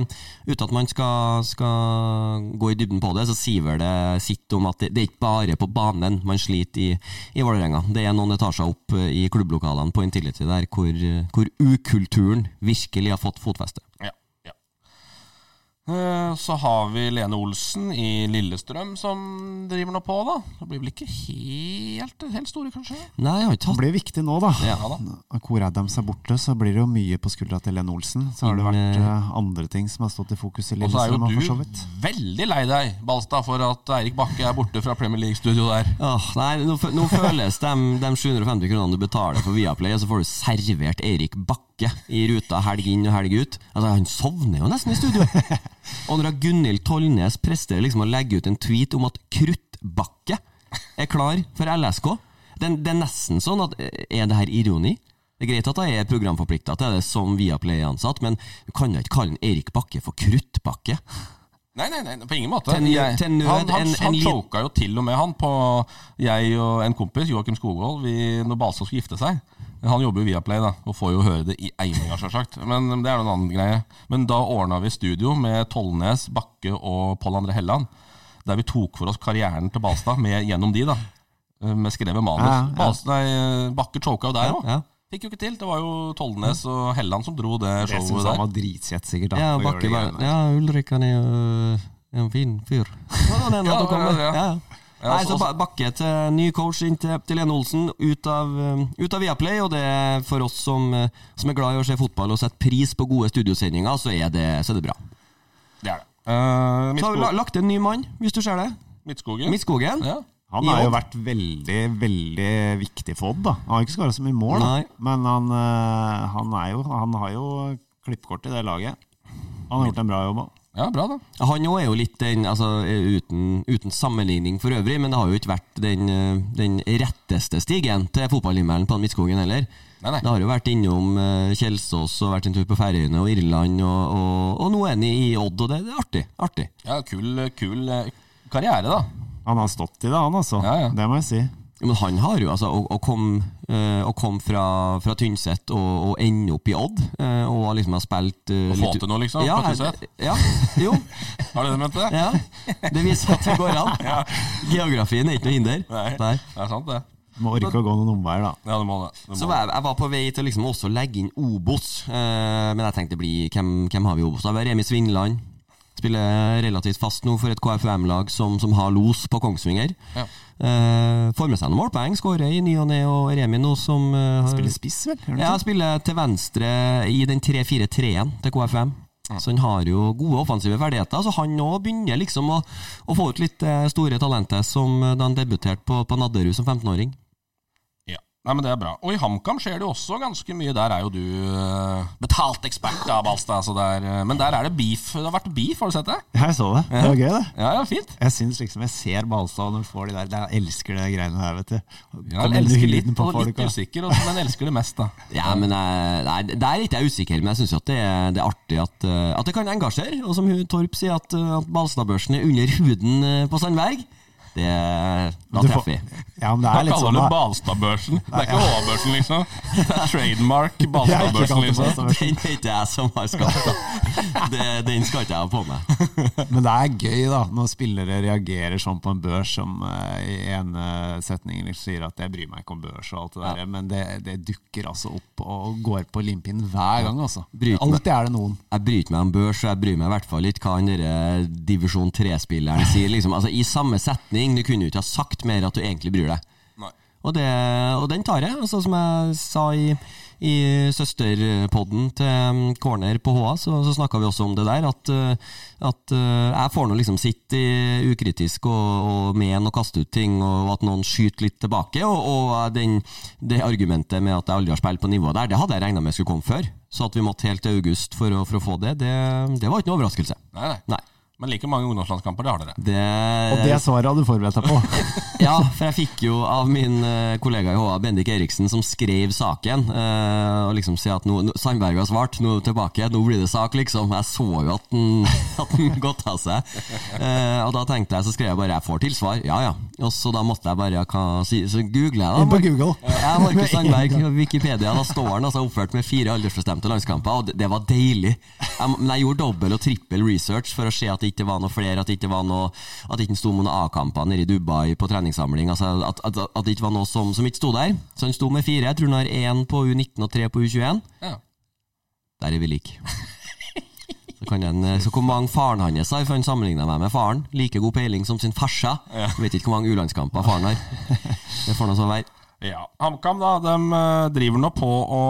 [SPEAKER 5] uten at man skal, skal gå i dybden på det, så sier vel det sitt om at det, det er ikke bare på banen man sliter i, i Vålerenga. Det er noen etasjer opp eh, i klubblokalene på Intility der hvor, eh, hvor ukulturen virkelig har fått fotfeste.
[SPEAKER 4] Ja, ja. Eh, Så har vi Lene Olsen i Lillestrøm som driver noe på, da. Det blir vel ikke helt, helt store, kanskje?
[SPEAKER 5] Nei, jeg har ikke
[SPEAKER 3] Det
[SPEAKER 5] hatt
[SPEAKER 3] blir viktig nå, da.
[SPEAKER 5] Ja.
[SPEAKER 4] da.
[SPEAKER 3] Når Kor Adams er borte, så blir det jo mye på skuldra til Lene Olsen. Så har det
[SPEAKER 5] Men,
[SPEAKER 3] vært
[SPEAKER 5] eh,
[SPEAKER 3] eh, andre ting som har stått i fokus i
[SPEAKER 4] Og så er
[SPEAKER 3] Lillestrøm. og for
[SPEAKER 4] jo
[SPEAKER 3] så
[SPEAKER 4] du
[SPEAKER 3] vidt.
[SPEAKER 4] veldig lei deg, Balstad, for at Eirik Bakke er borte fra Premier League-studio der.
[SPEAKER 5] Åh, nei, nå, fø- nå føles de, de 750 kronene du betaler for Viaplay, og så får du servert Eirik Bakke i ruta helg inn og helg ut. Altså, Han sovner jo nesten i studio. Og når da Gunhild Tollnes presterer liksom å legge ut en tweet om at Kruttbakke er klar for LSK den, Det er nesten sånn at eh, Er det her ironi? Det er greit at jeg er programforplikta til det som Viaplay-ansatt, men du kan da ikke kalle en Eirik Bakke for Kruttbakke?
[SPEAKER 4] Nei, nei, nei, på ingen måte.
[SPEAKER 5] Til nød-
[SPEAKER 4] Jeg-
[SPEAKER 5] til nød
[SPEAKER 4] han han,
[SPEAKER 5] en-
[SPEAKER 4] han
[SPEAKER 5] en lit-
[SPEAKER 4] choka jo til og med han på Jeg og en kompis, Joakim Skogvold, vi, når Balstad skulle gifte seg. Han jobber jo via Play, da, og får jo høre det i eininga, sjølsagt. Men det er noen annen greie. Men da ordna vi studio med Tollnes, Bakke og Pål André Helland. Der vi tok for oss karrieren til Balstad med, gjennom de, da. Eh, Med skrevet manus.
[SPEAKER 3] Ja, ja.
[SPEAKER 4] Balstad, nei, Bakke choka jo der òg.
[SPEAKER 5] ja.
[SPEAKER 4] Fikk jo ikke til. Det var jo Tollnes og Helland som dro det
[SPEAKER 3] Jeg syns
[SPEAKER 4] showet der.
[SPEAKER 3] han var dritsett, sikkert. Da,
[SPEAKER 5] Ja,
[SPEAKER 3] for å gjøre
[SPEAKER 5] Bakke
[SPEAKER 3] de
[SPEAKER 5] bare
[SPEAKER 3] greiene.
[SPEAKER 5] Ja, Ulrik han er jo en fin fyr. Ja, han er en av
[SPEAKER 4] Ja,
[SPEAKER 5] de kommer.
[SPEAKER 4] ja, ja.
[SPEAKER 5] Ja, ja.
[SPEAKER 4] Ja,
[SPEAKER 5] Nei,
[SPEAKER 4] så-
[SPEAKER 5] så Ba- Bakke til ny coach inn til, til Lene Olsen, ut av, eh, ut av Viaplay. Og det er for oss som, eh, som er glad i å se fotball og setter pris på gode studiosendinger, så er det, så er det bra.
[SPEAKER 4] Det er det. Eh,
[SPEAKER 5] Så har vi la-
[SPEAKER 4] Midtsko-
[SPEAKER 5] lagt en ny mann, hvis du ser det.
[SPEAKER 4] Midtskogen.
[SPEAKER 5] Midtskogen.
[SPEAKER 4] Ja.
[SPEAKER 3] Han
[SPEAKER 5] I
[SPEAKER 3] har jo
[SPEAKER 5] Odd.
[SPEAKER 3] vært veldig, veldig viktig for Odd. da. Han har ikke skåra så mye mål, da.
[SPEAKER 5] Nei.
[SPEAKER 3] men han, eh, han, er jo, han har jo klippkort i det laget. Han har gjort en bra jobb òg.
[SPEAKER 4] ja, bra, da.
[SPEAKER 5] Han òg er jo litt den, altså eh, uten, uten sammenligning for øvrig, men det har jo ikke vært den, eh, den retteste stigen til fotballhimmelen på Midtskogen heller.
[SPEAKER 4] Nei, nei.
[SPEAKER 5] Det har jo vært innom eh, Kjelsås og vært en tur på Færøyene og Irland, og, og, og nå er han i i Odd, og det, det er artig. artig.
[SPEAKER 4] Ja, kul, kul eh, karriere, da.
[SPEAKER 3] Han har stått i det, han altså.
[SPEAKER 4] Ja, ja.
[SPEAKER 3] Det må jeg si.
[SPEAKER 5] Men han har jo, altså, å, å komme eh, å komme fra, fra Tynset og, og ende opp i Odd, eh, og liksom ha spilt eh,
[SPEAKER 4] Og få til noe, liksom,
[SPEAKER 5] Ja,
[SPEAKER 4] på Tynset.
[SPEAKER 5] Ja, jo.
[SPEAKER 4] Har du det, Mette?
[SPEAKER 5] Ja. Det viser at det går an. Geografien er ikke noe hinder.
[SPEAKER 4] Nei.
[SPEAKER 5] Nei.
[SPEAKER 4] Det er sant, det.
[SPEAKER 3] Må orke å gå noen omveier, da.
[SPEAKER 4] Ja, du må det. Du
[SPEAKER 5] Så
[SPEAKER 4] må. det.
[SPEAKER 5] var jeg, jeg var på vei til liksom også å legge inn Obos, eh, men jeg tenkte bli, hvem, hvem har vi i Obos? Da var Remi Svinland. Spiller relativt fast nå for et KFUM-lag som, som har los på Kongsvinger.
[SPEAKER 4] Ja.
[SPEAKER 5] Eh, får med seg noen målpoeng, skårer i ny og ne, og Remi nå som eh, har-
[SPEAKER 3] Spiller liksom? spiss, vel? Gjør han
[SPEAKER 5] ja,
[SPEAKER 3] ikke?
[SPEAKER 5] spiller til venstre i den 3-4-3-en til KFM. Så han har jo gode offensive ferdigheter. Så han òg begynner liksom å, å få ut litt eh, store talenter, som eh, da han debuterte på, på Nadderud som 15-åring.
[SPEAKER 4] Ja. Nei, men Det er bra. Og i HamKam skjer det jo også ganske mye. Der er jo du eh, betalt ekspert, da, Balstad. Så der, eh, men der er det beef. Det har vært beef, har du sett det?
[SPEAKER 3] Jeg så det. Det var gøy, det.
[SPEAKER 4] Ja, ja, fint.
[SPEAKER 3] Jeg syns liksom jeg ser Balstad når du får de der. Jeg elsker de greiene der, vet du.
[SPEAKER 4] Ja,
[SPEAKER 3] Kommer
[SPEAKER 4] jeg
[SPEAKER 3] under
[SPEAKER 4] elsker
[SPEAKER 3] huden
[SPEAKER 4] litt,
[SPEAKER 3] på
[SPEAKER 4] og litt
[SPEAKER 3] folk, og-
[SPEAKER 4] usikker, og- men elsker det mest, da.
[SPEAKER 5] Ja, men jeg, nei, Der er ikke jeg usikker, men jeg syns det, er- det er artig at, eh, at det kan engasjere. Og som hun Torp sier, at, eh, at Balstadbørsen er under huden eh, på Sandberg. Det, da
[SPEAKER 3] Du får-
[SPEAKER 5] treffer vi.
[SPEAKER 3] Ja, men det er
[SPEAKER 4] Jeg
[SPEAKER 3] litt
[SPEAKER 4] kaller
[SPEAKER 3] sånn
[SPEAKER 4] det
[SPEAKER 3] da.
[SPEAKER 4] Balstadbørsen. Det er ikke HA-børsen, liksom. Det er trademark
[SPEAKER 3] Jeg
[SPEAKER 4] Balstadbørsen,
[SPEAKER 3] har ikke kalt det
[SPEAKER 4] liksom.
[SPEAKER 3] Balstadbørsen.
[SPEAKER 5] Den er ikke jeg som har skapt den. Det- Den skal ikke jeg ha på meg.
[SPEAKER 3] Men det er gøy, da, når spillere reagerer sånn på en børs som eh, i ene setningen liksom sier at 'jeg bryr meg ikke om børs' og alt det der, men det, det dukker altså opp og går på limpinnen hver gang, altså.
[SPEAKER 5] Bryt meg.
[SPEAKER 3] Alltid er det noen.
[SPEAKER 5] Jeg bryr ikke meg om børs, og jeg bryr meg i hvert fall ikke hva han derre divisjon 3-spilleren sier. Liksom. Altså, I samme setning, du kunne jo ikke ha sagt mer at du egentlig bryr deg.
[SPEAKER 4] Nei.
[SPEAKER 5] Og, det, og den tar jeg. Altså, som jeg sa i, i søsterpodden til um, Corner på HA, så, så snakka vi også om det der. At, uh, at uh, jeg får nå liksom sitte i- ukritisk og, og mene og kaste ut ting, og at noen skyter litt tilbake. Og, og uh, den, det argumentet med at jeg aldri har spilt på nivået der, det hadde jeg regna med skulle komme før. Så at vi måtte helt til august for å, for å få det, det, det var ikke noe overraskelse.
[SPEAKER 4] Nei, nei.
[SPEAKER 5] Nei.
[SPEAKER 4] Men like mange ungdomslandskamper, det har dere.
[SPEAKER 5] Det,
[SPEAKER 3] Og det svaret hadde du forberedt deg på.
[SPEAKER 5] Ja, for jeg fikk jo av min eh, kollega i HA, Bendik Eriksen, som skrev saken, eh, og liksom si at nå, nå- Sandberg har svart, nå tilbake, nå blir det sak, liksom. Jeg så jo at den, at den gått av seg. Eh, og da tenkte jeg, så skrev jeg bare 'jeg får tilsvar', ja ja. Og så da måtte jeg bare ja, hva si, Så googlet jeg, da.
[SPEAKER 3] Inn på Google.
[SPEAKER 5] Ja, Markus Sandberg, Wikipedia, da står han altså oppført med fire aldersbestemte landskamper, og det, det var deilig. Jeg, men jeg gjorde dobbel og trippel research for å se at det ikke var noe flere, at det ikke var noe At det ikke sto noen A-kamper nede i Dubai på treningssamling, altså at, at, at det ikke var noe som, som ikke sto der. Så han sto med fire. Jeg tror han har én på U19 og tre på U21.
[SPEAKER 4] Ja.
[SPEAKER 5] Der er vi like. Så, kan en, eh, så hvor mange faren hans har, for han sammenligna meg med faren. Like god peiling som sin farsa. Vet ikke hvor mange U-landskamper faren har. Det får nå så være.
[SPEAKER 4] Ja, HamKam da, de eh, driver nå på å,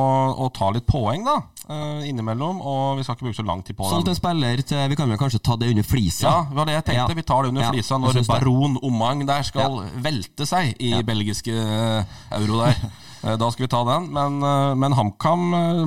[SPEAKER 4] å ta litt poeng da, eh, innimellom, og vi skal ikke bruke så lang tid på
[SPEAKER 5] Solgt
[SPEAKER 4] dem.
[SPEAKER 5] en spiller til Vi kan vel kanskje ta det under flisa?
[SPEAKER 4] Ja, det var det jeg tenkte.
[SPEAKER 5] Ja.
[SPEAKER 4] Vi tar det under
[SPEAKER 5] Ja,
[SPEAKER 4] flisa
[SPEAKER 5] jeg
[SPEAKER 4] når
[SPEAKER 5] synes det.
[SPEAKER 4] baron Omang der skal velte seg i belgiske eh, euro der. Eh, da skal vi ta den. Men, eh, men HamKam eh,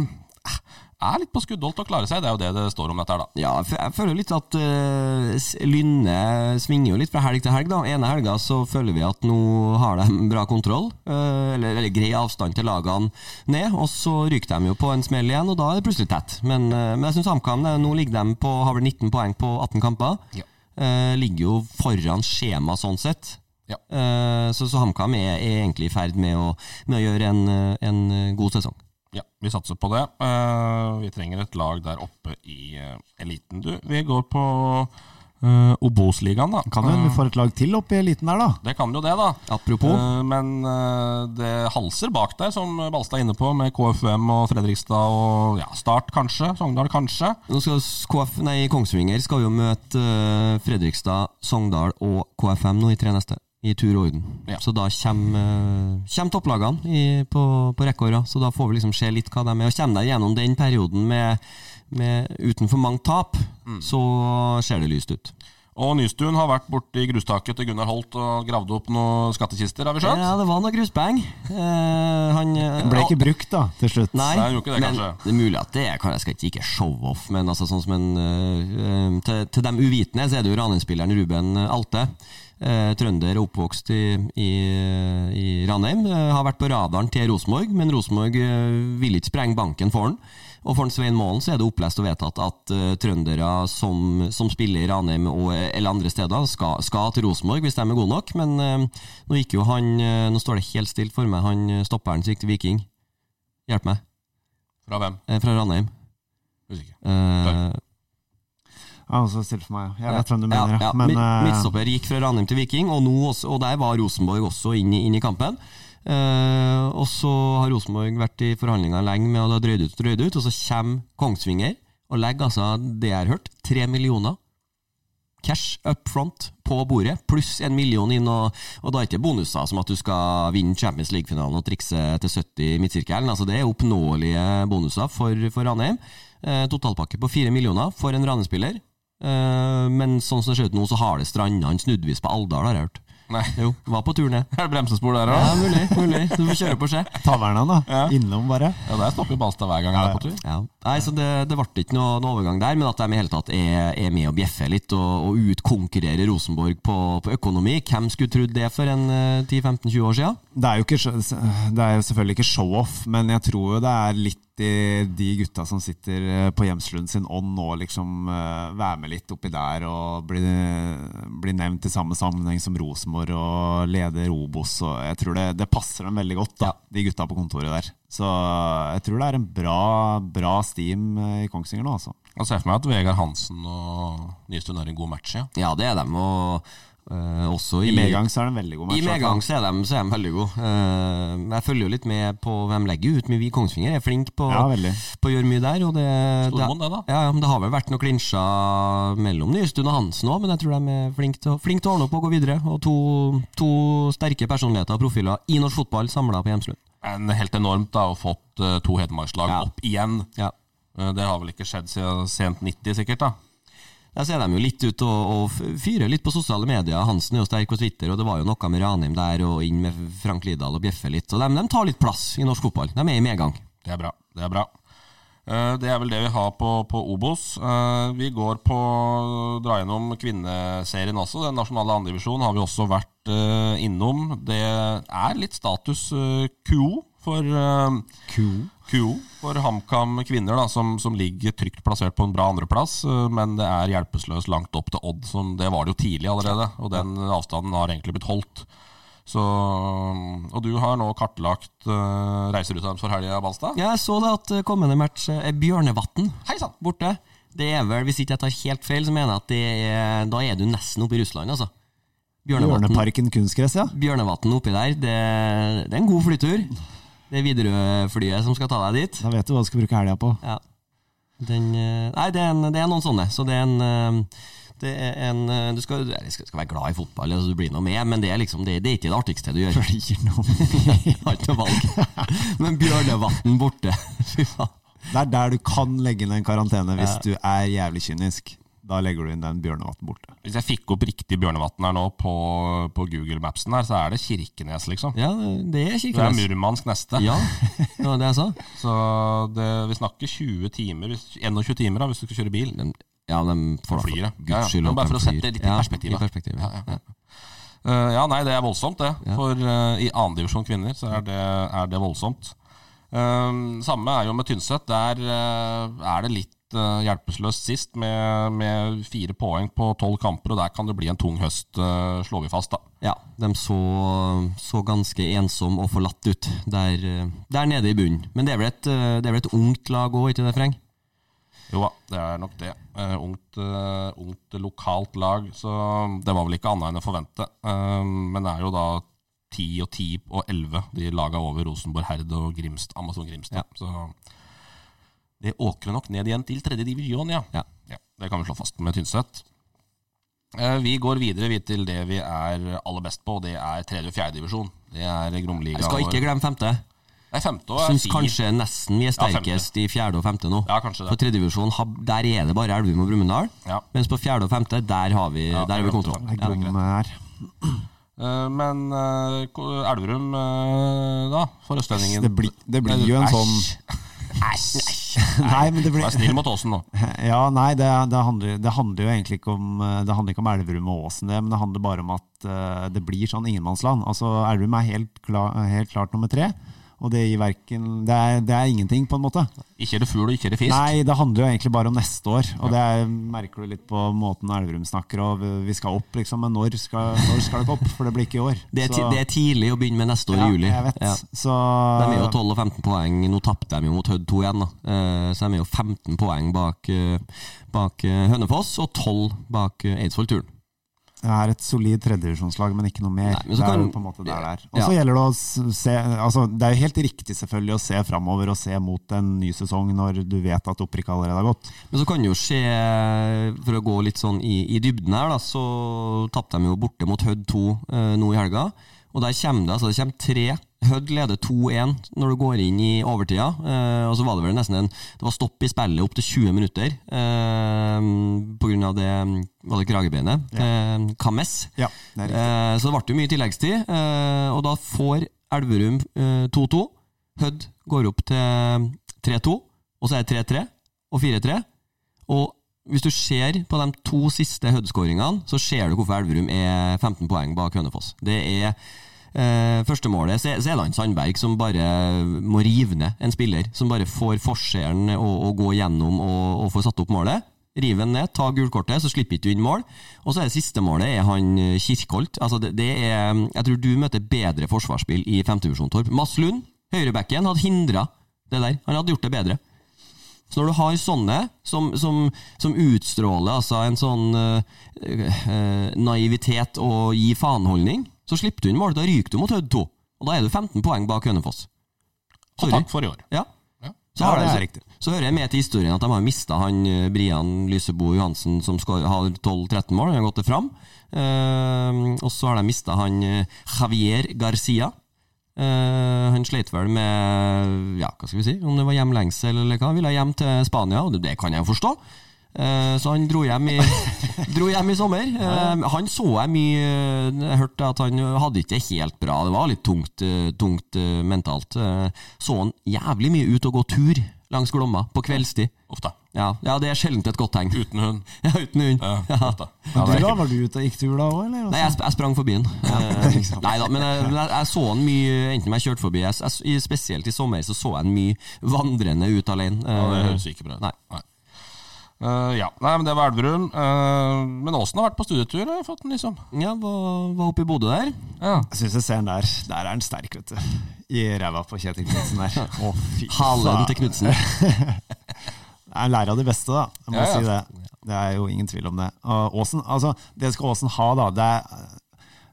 [SPEAKER 4] er litt på skuddholdt å klare seg. Det er jo det det står om dette her, da.
[SPEAKER 5] Ja, jeg fø- jeg føler jo litt at eh, s- Lynne svinger jo litt fra helg til helg. da Ene helga så føler vi at nå har de bra kontroll, eh, eller, eller grei avstand til lagene ned. Og så ryker de jo på en smell igjen, og da er det plutselig tett. Men, eh, men jeg syns HamKam eh, nå ligger de på, har vel 19 poeng på 18 kamper.
[SPEAKER 4] Ja.
[SPEAKER 5] Eh, ligger jo foran skjema sånn sett.
[SPEAKER 4] Ja.
[SPEAKER 5] Eh, så så HamKam er, er egentlig i ferd med å, med å gjøre en, eh, en eh, god sesong.
[SPEAKER 4] Ja, vi satser på det. Eh, vi trenger et lag der oppe i eh, eliten, du. Vi går på uh, Obos-ligaen, da.
[SPEAKER 3] Kan jo hende vi får et lag til opp i eliten der, da.
[SPEAKER 4] Det kan jo det, da.
[SPEAKER 5] Apropos.
[SPEAKER 4] Eh, men eh, det halser bak der, som Balstad er inne på, med KFUM og Fredrikstad og ja, Start kanskje, Sogndal kanskje.
[SPEAKER 5] Nå skal s- KF, nei, Kongsvinger skal jo møte eh, Fredrikstad, Sogndal og KFM nå i tre neste. I tur og orden.
[SPEAKER 4] Ja.
[SPEAKER 5] Så da kommer, eh, kommer topplagene i, på, på rekke år, ja. Så da får vi liksom se litt hva de er. Og kommer de gjennom den perioden med, med uten for mange tap,
[SPEAKER 3] Mm.
[SPEAKER 5] så ser det lyst ut.
[SPEAKER 4] Og Nystuen har vært borti grustaket til Gunnar Holt og gravd opp noen skattkister, har vi skjønt?
[SPEAKER 5] Ja, det var noe grusbeng. Eh, han eh,
[SPEAKER 3] Den ble ikke brukt, da, til slutt.
[SPEAKER 5] Nei,
[SPEAKER 4] Nei, han gjorde ikke det,
[SPEAKER 5] men
[SPEAKER 4] kanskje.
[SPEAKER 5] det er mulig at det er kan- Jeg skal ikke, ikke show-off, men altså, sånn som en øh, øh, til, til dem uvitende så er det jo Ranheim-spilleren Ruben eh, Alte. øh, trønder og oppvokst i, i, i Ranheim. øh, har vært på radaren til Rosenborg, men Rosenborg øh, vil ikke sprenge banken for han. Og for han Svein Målen så er det opplest og vedtatt at øh, trøndere som, som spiller i Ranheim og, eller andre steder, skal, skal til Rosenborg hvis de er gode nok. Men øh, nå gikk jo han øh, Nå står det helt stilt for meg, han øh, stopperen som gikk til Viking. Hjelp meg.
[SPEAKER 4] Fra hvem?
[SPEAKER 5] Eh, fra Ranheim.
[SPEAKER 4] Usikker.
[SPEAKER 5] Eh,
[SPEAKER 3] Ja, og så stilt for meg. Jeg vet hvem du
[SPEAKER 5] ja,
[SPEAKER 3] mener,
[SPEAKER 5] ja.
[SPEAKER 3] ja. Men
[SPEAKER 5] Mid-
[SPEAKER 3] eh,
[SPEAKER 5] Midtstopper gikk fra Ranheim til Viking, og, nå også, og der var Rosenborg også inn i, inn i kampen. Eh, og så har Rosenborg vært i forhandlinger lenge med, og det har drøyd ut og drøyd ut, og så kommer Kongsvinger og legger altså, det jeg har hørt, tre millioner cash up front på bordet, pluss en million inn, og, og da er ikke det bonuser som at du skal vinne Champions League-finalen og trikse til 70 i midtsirkelen. Altså, det er oppnåelige bonuser for, for Ranheim. Eh, totalpakke på fire millioner for en Ranheim-spiller. Eh, men sånn som det ser ut nå, så har det stranda en snuddvis på Alvdal, har jeg hørt.
[SPEAKER 4] Nei.
[SPEAKER 5] Jo, var på turné.
[SPEAKER 4] Er det bremsespor der
[SPEAKER 5] Ja,
[SPEAKER 4] òg?
[SPEAKER 5] mulig. mulig Du får kjøre på seg.
[SPEAKER 3] Taverna, da. Innom, bare.
[SPEAKER 4] Ja, der stopper jo Balstad hver gang jeg er på tur.
[SPEAKER 5] Ja. Nei, så det, det ble ikke noe, noe overgang der, men at de i hele tatt er, er med og bjeffer litt og, og utkonkurrerer Rosenborg på, på økonomi. Hvem skulle trodd det for en eh, 10-15-20 år siden?
[SPEAKER 3] Det er jo ikke, det er jo selvfølgelig ikke show-off, men jeg tror jo det er litt i de gutta som sitter eh, på Hjemslund sin ånd nå, liksom eh, være med litt oppi der og bli, bli nevnt i samme sammenheng som Rosenborg og leder Obos. Og jeg tror det, det passer dem veldig godt, da, de gutta på kontoret der. Så eh, jeg tror det er en bra, bra steam i Kongsvinger nå, altså.
[SPEAKER 4] Jeg ser for meg at Vegard Hansen og Nystuen har en god match. Ja.
[SPEAKER 5] Ja, det er de, og eh, også
[SPEAKER 3] I medgang så er det en veldig god
[SPEAKER 5] I
[SPEAKER 3] match.
[SPEAKER 5] medgang så er de, så er de veldig gode. Eh, men jeg følger jo litt med på hvem legger ut, men vi i Kongsvinger er flinke på,
[SPEAKER 3] Ja, veldig.
[SPEAKER 5] på å gjøre mye der. Og det,
[SPEAKER 4] Stormon, det da.
[SPEAKER 5] Ja, ja, men det har vel vært noen klinsjer mellom Nystuen og Hansen òg, men jeg tror de er flinke til, å- flinke til å ordne opp og gå videre. Og to, to sterke personligheter og profiler i norsk fotball samla på Hjemslund.
[SPEAKER 4] En helt enormt da, å ha fått eh, to Hedmarkslag
[SPEAKER 5] Ja.
[SPEAKER 4] opp igjen.
[SPEAKER 5] Ja.
[SPEAKER 4] Eh, Det har vel ikke skjedd siden sent 90, sikkert. da
[SPEAKER 5] Der ser de jo litt ut og, og f- fyrer litt på sosiale medier. Hansen er jo sterk på Twitter, og det var jo noe med Ranheim der, og inn med Frank Lidahl og bjeffe litt. Og de, de tar litt plass i norsk fotball. De er i medgang.
[SPEAKER 4] Det er bra. Det er bra. Eh, Det er vel det vi har på, på Obos. Eh, Vi går på dra gjennom kvinneserien også. Den nasjonale andredivisjonen har vi også vært eh, innom. Det er litt status eh, quo for eh, QO for HamKam kvinner, da, som, som ligger trygt plassert på en bra andreplass. eh, Men det er hjelpeløst langt opp til Odd. Som det var det jo tidlig allerede, og den avstanden har egentlig blitt holdt. Så, og du har nå kartlagt uh, reiseruta deres for helga, Balstad.
[SPEAKER 5] Ja, jeg så det at eh, kommende match eh, er Bjørnevatn
[SPEAKER 4] Hei sann!
[SPEAKER 5] borte. Det er vel, Hvis ikke jeg tar helt feil, så mener jeg at det er, da er du nesten oppe i Russland, altså. Bjørnevatn
[SPEAKER 3] Bjørneparken kunstgress, ja.
[SPEAKER 5] Bjørnevatn oppi der, det, det er en god flytur. Det er Widerøe-flyet som skal ta deg dit.
[SPEAKER 3] Da vet du hva du skal bruke helga på.
[SPEAKER 5] Ja. Den, eh, nei, det er, en, det er noen sånne. Så det er en, eh, det er en eh, Du skal, eller, skal, skal være glad i fotball, altså, du blir noe med, men det er, liksom, det, det er ikke det artigste du gjør.
[SPEAKER 3] Blir noe
[SPEAKER 5] Jeg har ikke noe valg. Men Bjørnevatn borte, fy faen.
[SPEAKER 3] Det er der du kan legge inn en karantene hvis du er jævlig kynisk. Da legger du inn den bjørnevatten borte.
[SPEAKER 4] Hvis jeg fikk opp riktig Bjørnevatn her nå på, på Google Mapsen, her, så er det Kirkenes, liksom.
[SPEAKER 5] Ja, det er
[SPEAKER 4] Det er
[SPEAKER 5] Kirkenes.
[SPEAKER 4] Murmansk neste.
[SPEAKER 5] Ja, det var det jeg sa.
[SPEAKER 4] Så det, vi snakker 20 timer, hvis- 21 timer da, hvis du skal kjøre bil.
[SPEAKER 5] De, ja, de får da
[SPEAKER 4] Flyr, ja. Ja,
[SPEAKER 5] for
[SPEAKER 4] ja.
[SPEAKER 5] guds skyld
[SPEAKER 4] Men
[SPEAKER 5] at
[SPEAKER 4] bare
[SPEAKER 5] de
[SPEAKER 4] for å sette
[SPEAKER 5] flyr.
[SPEAKER 4] det litt i
[SPEAKER 5] Ja,
[SPEAKER 4] perspektivet.
[SPEAKER 5] I perspektiv, ja.
[SPEAKER 4] Ja, ja, Eh, ja, nei, det er voldsomt, det. For eh, i andredivisjon kvinner så er det, er det voldsomt. Eh, samme er jo med Tynset. Der eh, er det litt eh, hjelpeløst sist, med, med fire poeng på tolv kamper, og der kan det bli en tung høst, eh, slår vi fast, da.
[SPEAKER 5] Ja, de så, så ganske ensom og forlatt ut der, eh, der nede i bunnen. Men det er vel et, eh, det er vel et ungt lag òg, ikke det, Freng?
[SPEAKER 4] Jo da, det er nok det. Eh, ungt, eh, ungt lokalt lag, så det var vel ikke annet enn å forvente. Eh, men det er jo da 10 og 10 og 11 de laga over Rosenborg Herd og Grimst, Amazon Grimstad. Så det åkrer nok ned igjen til tredje divisjon, ja.
[SPEAKER 5] Ja.
[SPEAKER 4] Det kan vi slå fast med Tynset. Eh, Vi går videre vi, til det vi er aller best på, og det er tredje- og fjerde divisjon. Det er Gromliga.
[SPEAKER 5] Jeg skal
[SPEAKER 4] og-
[SPEAKER 5] ikke glemme femte.
[SPEAKER 4] Nei, femte og er
[SPEAKER 5] Syns
[SPEAKER 4] fin.
[SPEAKER 5] kanskje nesten vi er
[SPEAKER 4] Ja, femte.
[SPEAKER 5] sterkest i fjerde og femte nå.
[SPEAKER 4] Ja, kanskje
[SPEAKER 5] På
[SPEAKER 4] det.
[SPEAKER 5] tredjevisjon, der er det bare Elverum og Brumunddal.
[SPEAKER 4] Ja.
[SPEAKER 5] Mens på fjerde og femte, der har vi,
[SPEAKER 4] Ja,
[SPEAKER 5] der har vi
[SPEAKER 4] femte og
[SPEAKER 5] kontroll.
[SPEAKER 3] Det er grom her.
[SPEAKER 4] Eh, Men eh, Ko- Elverum, eh, da, for østlendingen
[SPEAKER 3] Det, blir- det blir jo en sånn
[SPEAKER 4] Æsj!
[SPEAKER 3] Nei, men det blir
[SPEAKER 4] Vær snill mot Åsen nå.
[SPEAKER 3] Ja, nei, det, det, handler, det handler jo egentlig ikke om eh, Det handler ikke om Elverum og Åsen, det, men det handler bare om at eh, det blir sånn ingenmannsland. Altså, Elverum er helt, kla, helt klart nummer tre, og det gir verken det er, det er ingenting, på en måte.
[SPEAKER 4] Ikke er det fugl og ikke er det fisk.
[SPEAKER 3] Nei, det handler jo egentlig bare om neste år. Og det er, merker du litt på måten Elverum snakker og vi- Vi skal opp, liksom. Men når skal, når skal det ikke opp? For det blir ikke i år.
[SPEAKER 5] Det er, ti-
[SPEAKER 3] Så-
[SPEAKER 5] det er tidlig å begynne med neste år
[SPEAKER 3] ja,
[SPEAKER 5] i juli.
[SPEAKER 3] Jeg vet.
[SPEAKER 5] Ja.
[SPEAKER 3] Så
[SPEAKER 5] De er jo 12 og 15 poeng. Nå tapte de jo mot Hødd 2 igjen, da. Eh, Så de er jo 15 poeng bak, eh, bak eh, Hønefoss og 12 bak eh, Eidsvoll-turen.
[SPEAKER 3] Det er et solid tredjedivisjonslag, men ikke noe mer.
[SPEAKER 5] Nei, men så
[SPEAKER 3] det er
[SPEAKER 5] kan-
[SPEAKER 3] jo på en måte der det er. Og
[SPEAKER 5] Ja.
[SPEAKER 3] så gjelder det å s- se altså, Det er jo helt riktig selvfølgelig å se framover og se mot en ny sesong når du vet at opprykket allerede har gått.
[SPEAKER 5] Men så kan det jo skje, for å gå litt sånn i, i dybden her, da, så tapte de jo borte mot Hødd 2 eh, nå i helga. Og der kommer det altså, det kommer tre. Hødd leder 2-1 når du går inn i overtida. Eh, og så var det vel nesten en Det var stopp i spillet opptil 20 minutter eh, pga. det mm, Var det kragebeinet? Eh, Kames.
[SPEAKER 3] Ja, det er riktig.
[SPEAKER 5] Eh, så det ble jo mye tilleggstid. Eh, og da får Elverum eh, 2-2. Hødd går opp til 3-2, og så er det 3-3 og 4-3. Og hvis du ser på de to siste Hødd-skåringene, så ser du hvorfor Elverum er 15 poeng bak Hønefoss. Det er Eh, første målet så er så er det han Sandberg som bare må rive ned en spiller. Som bare får forskjellen å, å gå gjennom og, og få satt opp målet. Riv den ned, ta gulkortet, så slipper ikke du inn mål. Og så er det siste målet er han eh, Kirkholt. Altså det, det er, jeg tror du møter bedre forsvarsspill i femtedivisjon, Torp. Mads Lund, høyrebacken, hadde hindra det der. Han hadde gjort det bedre. Så når du har sånne som, som, som utstråler altså en sånn eh, eh, naivitet og gi faen-holdning, så slipper du inn mål. Da ryker du mot Hødd 2. Og da er du 15 poeng bak Hønefoss.
[SPEAKER 4] Og takk for i år.
[SPEAKER 5] Ja.
[SPEAKER 4] Ja.
[SPEAKER 5] Så,
[SPEAKER 3] Ja,
[SPEAKER 5] har de-
[SPEAKER 3] det er riktig.
[SPEAKER 5] så hører jeg med til historien at de har mista han eh, Brian Lysebo Johansen, som skår, har 12-13 mål. Han har gått det fram. Eh, og så har de mista han eh, Javier Garcia. Eh, han sleit vel med Ja, hva skal vi si? Om det var hjemlengsel eller hva. Han ville hjem til Spania, og det, det kan jeg jo forstå. Eh, Så han dro hjem i, dro hjem i sommer. Eh, Han så jeg mye Jeg hørte at han hadde ikke det helt bra. Det var litt tungt, eh, tungt eh, mentalt. Eh, Så han jævlig mye ut og gå tur langs Glomma på kveldstid.
[SPEAKER 4] Ofte.
[SPEAKER 5] Ja, ja det er sjelden et godt tegn.
[SPEAKER 4] Uten hund.
[SPEAKER 5] Ja, uten hund.
[SPEAKER 4] Ja,
[SPEAKER 5] Ja.
[SPEAKER 4] ofte.
[SPEAKER 3] Men
[SPEAKER 4] Ja, det
[SPEAKER 3] du
[SPEAKER 4] er
[SPEAKER 3] da,
[SPEAKER 4] ikke-
[SPEAKER 3] var du ute og gikk tur da òg, eller?
[SPEAKER 5] Nei, jeg, sp- jeg sprang forbi den. Nei da, men jeg, men jeg, jeg så han mye, enten om jeg kjørte forbi jeg, s- jeg, s- i- Spesielt i sommer så så jeg han mye vandrende ut alene.
[SPEAKER 4] Ja, det
[SPEAKER 5] Eh,
[SPEAKER 4] høres ikke bra ut.
[SPEAKER 5] Nei.
[SPEAKER 4] Eh, ja. Nei, men det var Elverum. Eh, men Åsen har vært på studietur, har jeg fått den, liksom.
[SPEAKER 5] Ja, var, var oppe i Bodø der.
[SPEAKER 4] Ja.
[SPEAKER 3] Jeg syns jeg ser den der. Der er den sterk, vet du. I ræva på Kjetil Knutsen der. Å, fy
[SPEAKER 5] Halen til Knutsen.
[SPEAKER 3] Jeg lærer av de beste, da. Jeg må
[SPEAKER 4] Ja, ja.
[SPEAKER 3] si det. Det er jo ingen tvil om det. Og Aasen, altså, det skal Aasen ha, da. Det er,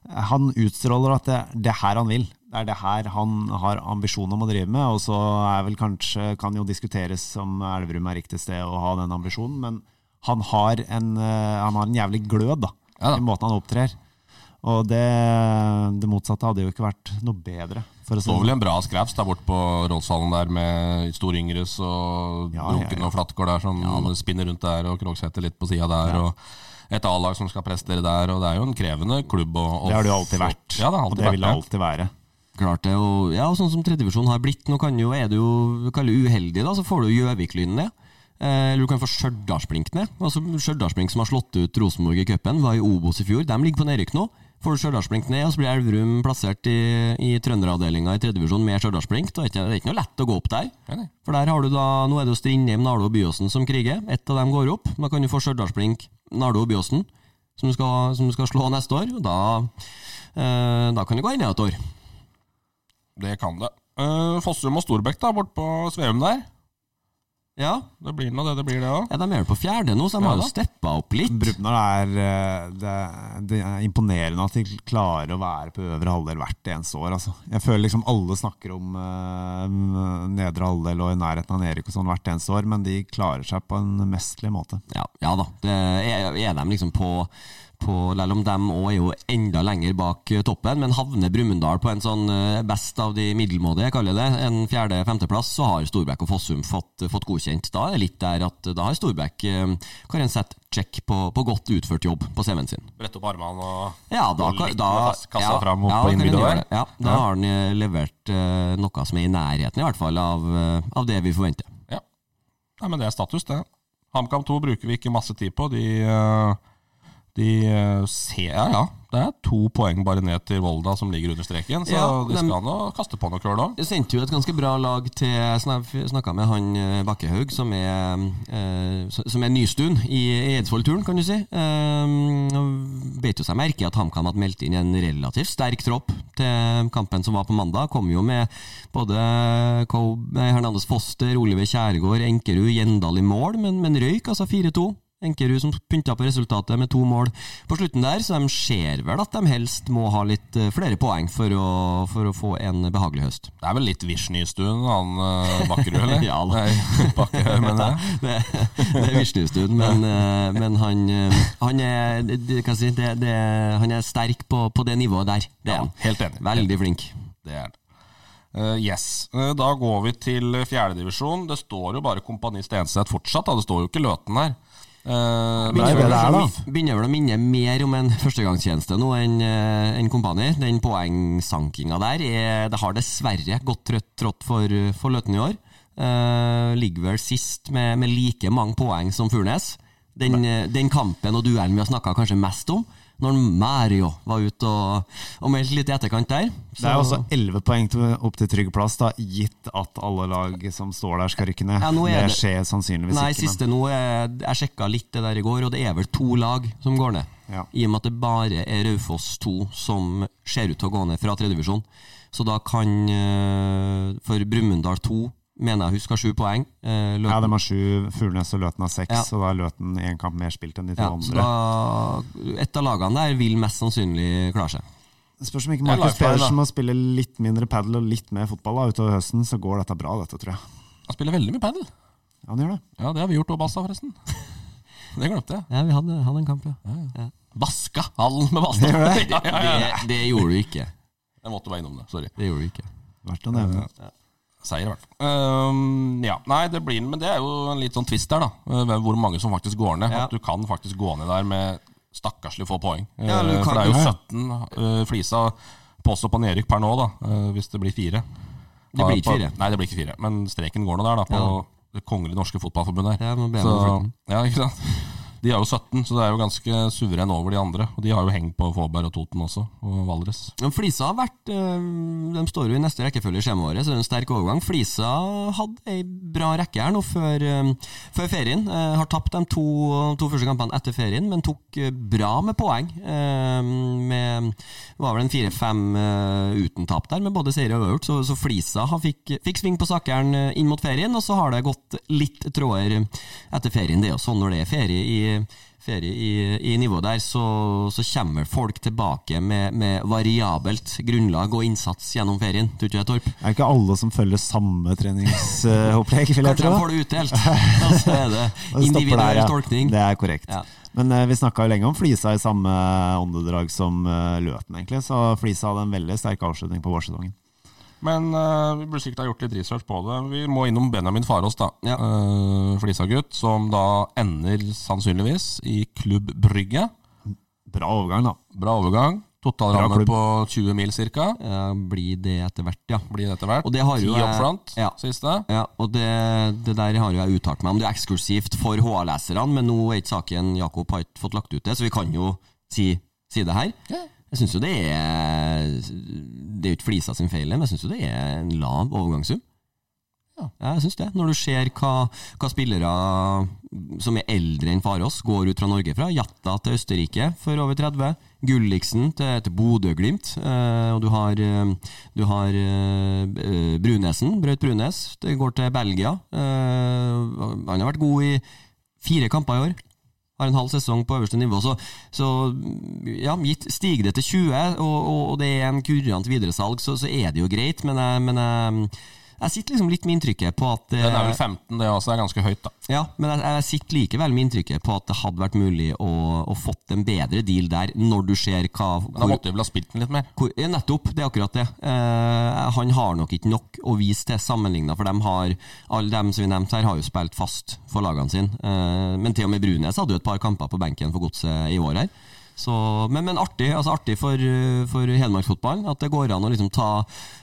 [SPEAKER 3] eh, han utstråler at det, det er her han vil. Det er det her han har ambisjon om å drive med. Og så er vel kanskje, kan jo diskuteres om Elverum er riktig sted å ha den ambisjonen, men han har en, eh, han har en jævlig glød da,
[SPEAKER 4] Ja da.
[SPEAKER 3] i måten han opptrer. Og det, det motsatte hadde jo ikke vært noe bedre. For å
[SPEAKER 4] Det
[SPEAKER 3] si
[SPEAKER 4] var
[SPEAKER 3] det. sånn.
[SPEAKER 4] vel en bra skrevs der borte på Rådshallen der med Stor Yngres og
[SPEAKER 3] Ja,
[SPEAKER 4] Brokken
[SPEAKER 3] ja, ja.
[SPEAKER 4] og Flatgård der som spinner rundt der, og Krogsæter litt på sida der, og et A-lag som skal prestere der, og det er jo en krevende klubb. Og, og
[SPEAKER 3] det har det jo alltid vært,
[SPEAKER 4] Ja, det har
[SPEAKER 3] og
[SPEAKER 4] alltid
[SPEAKER 3] det
[SPEAKER 4] vært
[SPEAKER 3] vil det alltid være.
[SPEAKER 5] Klart det, og ja, og sånn som tredjevisjon har blitt, nå kan jo, er du jo vi kaller det uheldig, da, så får du Gjøvik-lynen ned. Eh, Eller du kan få Stjørdalsblink ned. Altså, Stjørdalsblink som har slått ut Rosenborg i cupen, var i Obos i fjor. De ligger på nedrykk nå. Får du Stjørdalsblink ned, og så blir Elverum plassert i, i trønderavdelinga i tredjevisjon med Stjørdalsblink. Da er det ikke- Det er ikke noe lett å gå opp der.
[SPEAKER 4] Nei, nei.
[SPEAKER 5] For der har du da, nå er det jo Strindheim, Nardo og Byåsen som kriger. Ett av dem går opp. Da kan du få Stjørdalsblink, Nardo og Byåsen, som du skal, som du skal slå neste år. Og da, eh, da kan det gå enda et år.
[SPEAKER 4] Det kan det. Eh, Fossum og Storbekk da, borte på Sveum der.
[SPEAKER 5] Ja,
[SPEAKER 4] Det blir nå det det blir, det òg.
[SPEAKER 5] Ja, de er jo på fjerde nå, så de
[SPEAKER 4] Ja
[SPEAKER 5] har
[SPEAKER 4] da.
[SPEAKER 5] jo steppa opp litt.
[SPEAKER 3] Brumunddal er eh, det, det er imponerende at de klarer å være på øvre halvdel hvert eneste år. Altså. Jeg føler liksom alle snakker om eh, nedre halvdel og i nærheten av Erik og sånn hvert eneste år, men de klarer seg på en mesterlig måte.
[SPEAKER 5] Ja, ja da. Det er, er de liksom på på, selv om de òg er jo enda lenger bak eh, toppen, men havner Brumunddal på en sånn eh, best av de middelmådige, jeg kaller det, en fjerde-femteplass, så har Storbekk og Fossum fått, fått godkjent. Da er det litt der at eh, da har Storbekk eh, kan en sette check på, på godt utført jobb på CV-en sin.
[SPEAKER 4] Brette opp armene og
[SPEAKER 5] Ja, da,
[SPEAKER 4] Og
[SPEAKER 5] kan-
[SPEAKER 4] litt
[SPEAKER 5] da,
[SPEAKER 4] med fast kassa
[SPEAKER 5] ja,
[SPEAKER 4] fram og
[SPEAKER 5] ja,
[SPEAKER 4] på
[SPEAKER 5] kan
[SPEAKER 4] innbygget
[SPEAKER 5] hun gjøre
[SPEAKER 4] der.
[SPEAKER 5] det. Ja, da
[SPEAKER 4] Ja.
[SPEAKER 5] har han eh, levert eh, noe som er i nærheten, i hvert fall, av, eh, av det vi forventer.
[SPEAKER 4] Ja. Nei, men det er status, det. HamKam 2 bruker vi ikke masse tid på. De, eh, de eh, ser Ja, ja. Det er to poeng bare ned til Volda som ligger under streken, så
[SPEAKER 5] Ja,
[SPEAKER 4] de
[SPEAKER 5] dem-
[SPEAKER 4] skal nå kaste på noe køl òg.
[SPEAKER 5] Jeg sendte jo et ganske bra lag til Jeg snakka med han eh, Bakkehaug, som er, eh, s- som er nystuen i Eidsvollturen, kan du si. Um, Beit jo seg merke i at HamKam hadde meldt inn en relativt sterk tropp til kampen som var på mandag. Kom jo med både Kobe, Hernandez Foster, Oliver Kjærgaard, Enkerud, Gjendal i mål, men, men røyk altså 4-2. Enkerud som pynta på resultatet med to mål på slutten der, så de ser vel at de helst må ha litt eh, flere poeng for å, for å få en behagelig høst.
[SPEAKER 4] Det er vel litt Vishny i stuen, han eh, Bakkerud, eller?
[SPEAKER 5] Ja da.
[SPEAKER 4] Nei, Bakkerud, men det.
[SPEAKER 5] det, det er Vishnustuen, men, eh, men han, eh, han, er, det- det- hva skal jeg si, det, det, han er sterk på, på det nivået der. Det er han.
[SPEAKER 4] helt enig.
[SPEAKER 5] Veldig flink.
[SPEAKER 4] Det er det. Eh, yes. Eh, da går vi til fjerdedivisjon. Det står jo bare Kompani Stenseth fortsatt, da. Det står jo ikke Løten her. Eh,
[SPEAKER 3] Det er det det er, da.
[SPEAKER 5] Begynner vel å minne mer om en førstegangstjeneste nå enn eh, enn kompani. Den poengsankinga der er, det har dessverre gått trøtt trått for, for Løten i år. Eh, ligger vel sist med, med like mange poeng som Furnes. Den, eh, den kampen og duellen vi har snakka kanskje mest om, når Mario var ute og, og meldte litt i etterkant der.
[SPEAKER 3] Det er jo også elleve poeng til, opp til trygg plass, da, gitt at alle lag som står der, skal rykke ned.
[SPEAKER 5] Ja, nå er
[SPEAKER 3] det,
[SPEAKER 5] det-
[SPEAKER 3] skjer sannsynligvis
[SPEAKER 5] Nei,
[SPEAKER 3] ikke.
[SPEAKER 5] siste nå er, Jeg sjekka litt det der i går, og det er vel to lag som går ned.
[SPEAKER 3] Ja.
[SPEAKER 5] I og med at det bare er Raufoss 2 som ser ut til å gå ned fra tredjevisjon. Så da kan eh, For Brumunddal 2 mener jeg husker sju poeng. eh,
[SPEAKER 3] Men, ja,
[SPEAKER 5] Løten-
[SPEAKER 3] de har sju, Furnes og Løten har seks,
[SPEAKER 5] Ja.
[SPEAKER 3] så da er Løten én kamp mer spilt enn de to
[SPEAKER 5] ja, så
[SPEAKER 3] andre.
[SPEAKER 5] da, et av lagene der vil mest sannsynlig klare seg.
[SPEAKER 3] Spørs om ikke
[SPEAKER 4] Det er
[SPEAKER 3] Markus
[SPEAKER 4] lifeline, da.
[SPEAKER 3] Pedersen må spille litt mindre padel og litt mer fotball da, utover høsten, så går dette bra, dette, tror jeg.
[SPEAKER 4] Han spiller veldig mye padel.
[SPEAKER 3] Ja, han gjør det.
[SPEAKER 4] Ja, det har vi gjort òg, Basta, forresten. Det glemte jeg.
[SPEAKER 5] Ja, vi hadde, hadde en kamp, ja.
[SPEAKER 4] Vaska hallen med Basta! Ja, ja, ja.
[SPEAKER 5] Det, det gjorde du ikke.
[SPEAKER 4] Jeg måtte bare innom det. Sorry.
[SPEAKER 5] Det gjorde du ikke.
[SPEAKER 3] Verdt å nevne.
[SPEAKER 4] Seier, i hvert fall. Ehm, ja. Nei, det blir Men det er jo en litt sånn twist der, da. Eh, hvem- Hvor mange som faktisk går ned.
[SPEAKER 5] Ja.
[SPEAKER 4] At du kan faktisk gå ned der med stakkarslig få poeng. Eh,
[SPEAKER 5] Ja, eller du
[SPEAKER 4] For
[SPEAKER 5] kan-
[SPEAKER 4] det er jo
[SPEAKER 5] Ja, ja.
[SPEAKER 4] 17 eh, Flisa påstår på nedrykk per nå, da. eh, hvis det blir fire.
[SPEAKER 5] Det blir ikke
[SPEAKER 4] På-
[SPEAKER 5] fire.
[SPEAKER 4] Nei, det blir ikke fire. Men streken går nå der, da. På Det kongelige norske fotballforbundet her.
[SPEAKER 5] Ja, nå ber jeg om
[SPEAKER 4] så, ja, ikke sant? De er jo 17, så det er jo ganske suveren over de andre. Og de har jo hengt på Fåberg og Toten også, og Valdres.
[SPEAKER 5] Men Flisa har vært eh, De står jo i neste rekkefølge i skjemaåret, så det er en sterk overgang. Flisa hadde ei bra rekke her nå før, eh, før ferien. Eh, har tapt de to, to første kampene etter ferien, men tok eh, bra med poeng. Eh, med det var vel en fire-fem eh, uten tap der, med både seier og uavgjort. Så, så Flisa har fikk, fikk sving på sakeren eh, inn mot ferien, og så har det gått litt tråder etter ferien. Det er jo sånn når det er ferie i ferie i, i nivået der, så, så kommer folk tilbake med, med variabelt grunnlag og innsats gjennom ferien. Tror ikke du det, Torp?
[SPEAKER 3] Det er ikke alle som følger samme treningsopplegg, vil jeg
[SPEAKER 5] Kanskje
[SPEAKER 3] tro.
[SPEAKER 5] de får det utdelt. Og så er det
[SPEAKER 3] Og det stopper der,
[SPEAKER 5] individuell
[SPEAKER 3] ja.
[SPEAKER 5] tolkning.
[SPEAKER 3] Det er korrekt.
[SPEAKER 5] Ja.
[SPEAKER 3] Men eh, vi snakka lenge om Flisa i samme åndedrag som eh, Løten, egentlig. Så Flisa hadde en veldig sterk avslutning på vårsesongen.
[SPEAKER 4] Men eh, vi burde sikkert ha gjort litt research på det. Vi må innom Benjamin Farås, da.
[SPEAKER 5] Ja.
[SPEAKER 4] Eh, Flisagutt, som da ender sannsynligvis i Klubb Brygge.
[SPEAKER 3] Bra overgang, da.
[SPEAKER 4] Bra overgang.
[SPEAKER 3] Bra
[SPEAKER 4] Totalramme
[SPEAKER 3] klubb.
[SPEAKER 4] på 20 mil ca.
[SPEAKER 5] Ja, blir det etter hvert, ja.
[SPEAKER 4] Blir det etter hvert.
[SPEAKER 5] Og det har jo
[SPEAKER 4] Ti
[SPEAKER 5] jeg-
[SPEAKER 4] up front,
[SPEAKER 5] ja.
[SPEAKER 4] siste.
[SPEAKER 5] Ja, og det, det der har jo jeg uttalt meg om. Det er eksklusivt for HA-leserne, men nå er ikke saken Jakob har ikke fått lagt ut det, så vi kan jo si, si det her. Jeg syns jo det er Det er jo ikke Flisa sin feil, men jeg syns jo det er en lav overgangssum. Ja, jeg syns det. Når du ser hva, hva spillere som er eldre enn Farås, går ut fra Norge fra. Jatta til Østerrike for over 30. Gulliksen til, til Bodø-Glimt. Eh, og du har, eh, du har eh, eh, Brunesen, Braut Brunes. Det går til Belgia. Eh, han har vært god i fire kamper i år. Har en halv sesong på øverste nivå. Så, så ja, gitt stiger det til 20, og, og, og det er en kurant videresalg, så, så er det jo greit, men jeg, men jeg, jeg sitter liksom litt med inntrykket på at
[SPEAKER 4] Den
[SPEAKER 3] Eh.
[SPEAKER 4] er vel 15, det også er ganske høyt, da.
[SPEAKER 5] ja, men jeg, jeg sitter likevel med inntrykket på at det hadde vært mulig å, å fått en bedre deal der, når du ser hva
[SPEAKER 4] Men da
[SPEAKER 5] hvor,
[SPEAKER 4] måtte vi vel ha spilt den litt mer.
[SPEAKER 5] hvor, ja, Nettopp, det er akkurat det. Eh, han har nok ikke nok å vise til sammenligna, for de har, alle dem som vi nevnte her, har jo spilt fast for lagene sine. Eh, men til og med Brunes hadde jo et par kamper på benken for Godset i år her. Så, men, men artig, altså artig for, eh, for Hedmarksfotballen at det går an å liksom ta,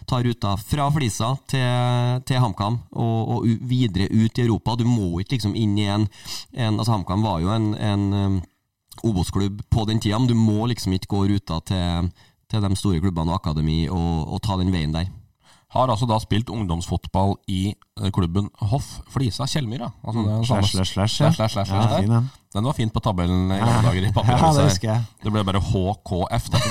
[SPEAKER 5] ta ruta fra Flisa til, til HamKam og, og u- videre ut i Europa. Du må ikke liksom inn i en, en altså HamKam var jo en, en eh, Obos-klubb på den tida, men du må liksom ikke gå ruta til, til de store klubbene og akademi og, og ta den veien der.
[SPEAKER 4] Har altså da spilt ungdomsfotball i eh, klubben Hoff Flisa Kjellmyra. Altså, det er den samme-
[SPEAKER 3] Mm, Slash, slash, slash.
[SPEAKER 4] slash, slash, slash, slash,
[SPEAKER 3] Ja, fin,
[SPEAKER 4] der.
[SPEAKER 3] den.
[SPEAKER 4] Den var fint på tabellen i gamle dager i
[SPEAKER 3] Ja, det
[SPEAKER 4] papirhuset.
[SPEAKER 3] husker jeg.
[SPEAKER 4] det ble bare HKF. Det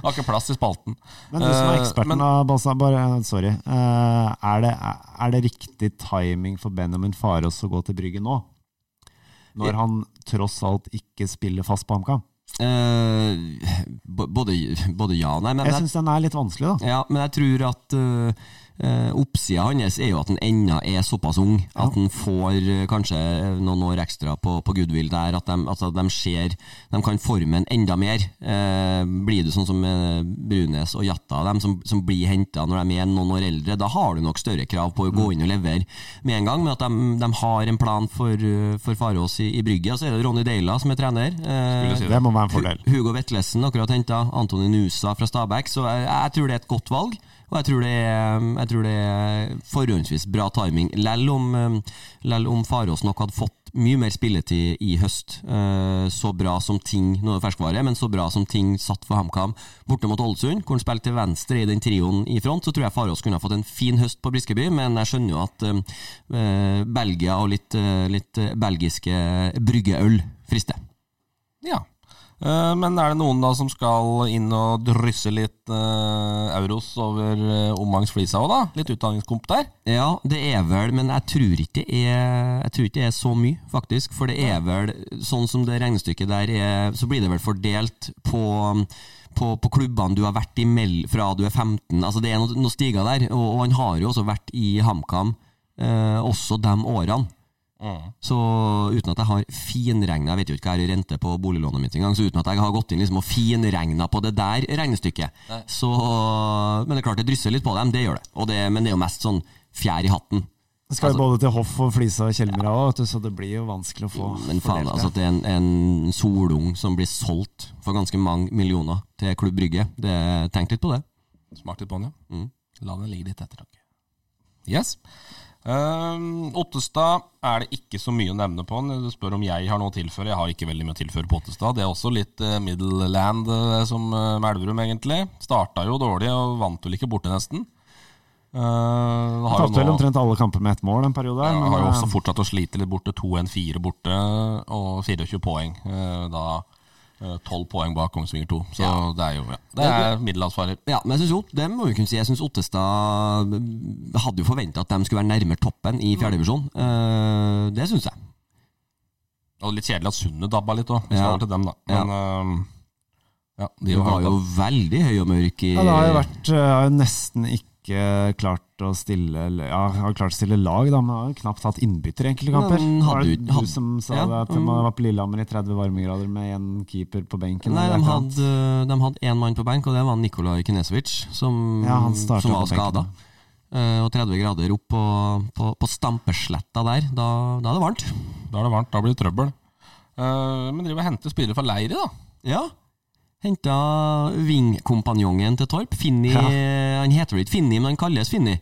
[SPEAKER 4] var ikke plass i spalten.
[SPEAKER 3] Men du som er
[SPEAKER 4] Eh,
[SPEAKER 3] eksperten,
[SPEAKER 4] men-
[SPEAKER 3] da, Balsa, bare, sorry. Eh, er, det, er det riktig timing for Benjamin Farås å gå til Brygge nå? når han tross alt ikke spiller fast på HamKam?
[SPEAKER 5] Eh, b- både, både ja og nei. Men
[SPEAKER 3] Jeg
[SPEAKER 5] jeg,
[SPEAKER 3] syns den er litt vanskelig, da.
[SPEAKER 5] ja, men jeg tror at eh, eh, oppsida hans er jo at han ennå er såpass ung at han får eh, kanskje noen år ekstra på, på goodwill der. At de, altså, de ser De kan forme en enda mer. Eh, blir du sånn som eh, Brunes og Jatta, dem som, som blir henta når de er noen år eldre, da har du nok større krav på å gå inn og levere med en gang. Men at de, de har en plan for, eh, for Farås i, i brygget. Og så er det Ronny Deila som er trener. Eh,
[SPEAKER 4] si
[SPEAKER 3] Det må være en fordel.
[SPEAKER 5] Hu- Hugo Vetlesen akkurat henta. Antony Nusa fra Stabæk. Så jeg, jeg tror det er et godt valg. Og jeg tror det er, jeg tror det er forhåndsvis bra timing. Lell om, eh, lell om Farås nok hadde fått mye mer spilletid i høst. Eh, Så bra som ting Nå er det ferskvare, men så bra som ting satt for HamKam borte mot Ålesund, hvor han spilte til venstre i den trioen i front, så tror jeg Farås kunne ha fått en fin høst på Briskeby, men jeg skjønner jo at um, eh, Belgia og litt, eh, litt eh, belgiske bryggeøl frister.
[SPEAKER 4] Ja. Eh, Men er det noen da som skal inn og drysse litt eh, euros over eh, omgangs flisa òg, da? Litt utdanningskomp der?
[SPEAKER 5] Ja, det er vel, men jeg tror ikke det er, jeg tror ikke det er så mye, faktisk. For det er vel, sånn som det regnestykket der er, så blir det vel fordelt på på, på klubbene du har vært i mell fra du er 15. Altså Det er noen noe stiger der. Og, og han har jo også vært i HamKam, eh, også de årene. Så uten at jeg har finregna Jeg vet jo ikke hva jeg har i rente på boliglånet mitt engang, så uten at jeg har gått inn liksom og finregna på det der regnestykket Så Men det er klart det drysser litt på dem, det gjør det. Og det men det er jo mest sånn fjær i hatten.
[SPEAKER 3] Det skal
[SPEAKER 4] altså-
[SPEAKER 3] jo både til hoff og Flisa og Kjellmyra òg, vet du, så det blir jo vanskelig å få
[SPEAKER 5] Men faen,
[SPEAKER 3] fordelt
[SPEAKER 5] altså at det er en, en solung som blir solgt for ganske mange millioner til Klubb Brygge. Det- Tenk litt på det.
[SPEAKER 4] Smart litt på den, ja. La den ligge litt etter dere. Yes. Ehm, Ottestad er det ikke så mye å nevne på. Du spør om jeg har noe å tilføre. Jeg har ikke veldig mye å tilføre på Ottestad. Det er også litt uh, Middelland eh, som eh, Melverum, egentlig. Starta jo dårlig og vant vel ikke borte, nesten. Eh, har jo
[SPEAKER 3] Tapte vel
[SPEAKER 4] nå-
[SPEAKER 3] omtrent alle kamper med ett mål en periode.
[SPEAKER 4] Ja,
[SPEAKER 3] men,
[SPEAKER 4] har jo
[SPEAKER 3] eh,
[SPEAKER 4] også fortsatt å slite litt borte. 2-1-4 borte eh, og 24 poeng. Eh, Da eh, 12 poeng bak Kongsvinger 2. Så det er jo ja. Det er middelhavsfarer.
[SPEAKER 5] Ja, men jeg synes jo, det må vi kunne si. Jeg synes Ottestad eh, hadde jo forventa at de skulle være nærmere toppen i fjerdedivisjon. Uh, det syns jeg.
[SPEAKER 4] Og litt kjedelig at Sundet dabba litt òg.
[SPEAKER 5] Ja.
[SPEAKER 4] Skal til dem, da. Men eh, ja, de
[SPEAKER 5] De
[SPEAKER 4] var
[SPEAKER 5] var jo
[SPEAKER 4] jo
[SPEAKER 5] veldig høy og mørk i
[SPEAKER 3] Ja, det har jo vært eh, har jo nesten ikke klart å stille Ja, har klart å stille lag, da, men har jo knapt hatt innbytter i enkelte
[SPEAKER 5] Men
[SPEAKER 3] kamper.
[SPEAKER 5] hadde
[SPEAKER 3] Var det
[SPEAKER 5] jo-
[SPEAKER 3] du
[SPEAKER 5] hadde-
[SPEAKER 3] som sa
[SPEAKER 5] ja,
[SPEAKER 3] det at de
[SPEAKER 5] mm.
[SPEAKER 3] var på Lillehammer i 30 varmegrader med én keeper på benken?
[SPEAKER 5] Nei, de
[SPEAKER 3] eller et eller annet?
[SPEAKER 5] hadde, de hadde én mann på benk, og det var Nikolaj Kinesovic, som,
[SPEAKER 3] Ja, han startet
[SPEAKER 5] som var
[SPEAKER 3] på benken.
[SPEAKER 5] skada. og 30 grader opp på, på, på Stampesletta der, da, da er det varmt.
[SPEAKER 4] Da er det varmt. Da blir det trøbbel. Eh, men driver og henter spillere fra Leiri, da.
[SPEAKER 5] Ja. Henta vingkompanjongen til Torp. Finni Han heter vel ikke Finni, men han kalles Finni.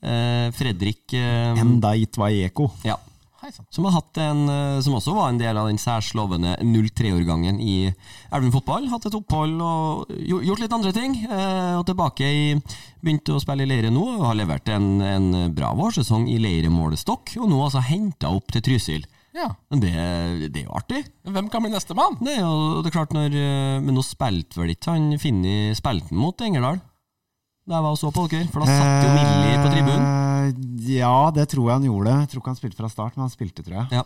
[SPEAKER 5] Eh, Fredrik eh,
[SPEAKER 3] Endait Vaieko.
[SPEAKER 5] ja,
[SPEAKER 4] Hei sann.
[SPEAKER 5] som, har hatt en, eh, som også var en del av den særslovende 03-årgangen i Elverum fotball. Hatt et opphold og gjo- gjort litt andre ting. eh, Og tilbake i Begynte å spille i Leire nå, og har levert en, en bra vårsesong i Leiremålestokk. Og nå altså henta opp til Trysil.
[SPEAKER 4] Ja.
[SPEAKER 5] Men Det, det er jo artig.
[SPEAKER 4] Hvem kan bli nestemann?
[SPEAKER 5] Nei, og det er klart når eh, Men nå spilte vel ikke han Finni Spilte han mot Engerdal? Da jeg var og så på dere, for da satt jo Millie på tribunen.
[SPEAKER 3] Eh, Ja, det tror jeg han gjorde. Jeg tror ikke han spilte fra start, men han spilte, tror jeg.
[SPEAKER 5] Ja.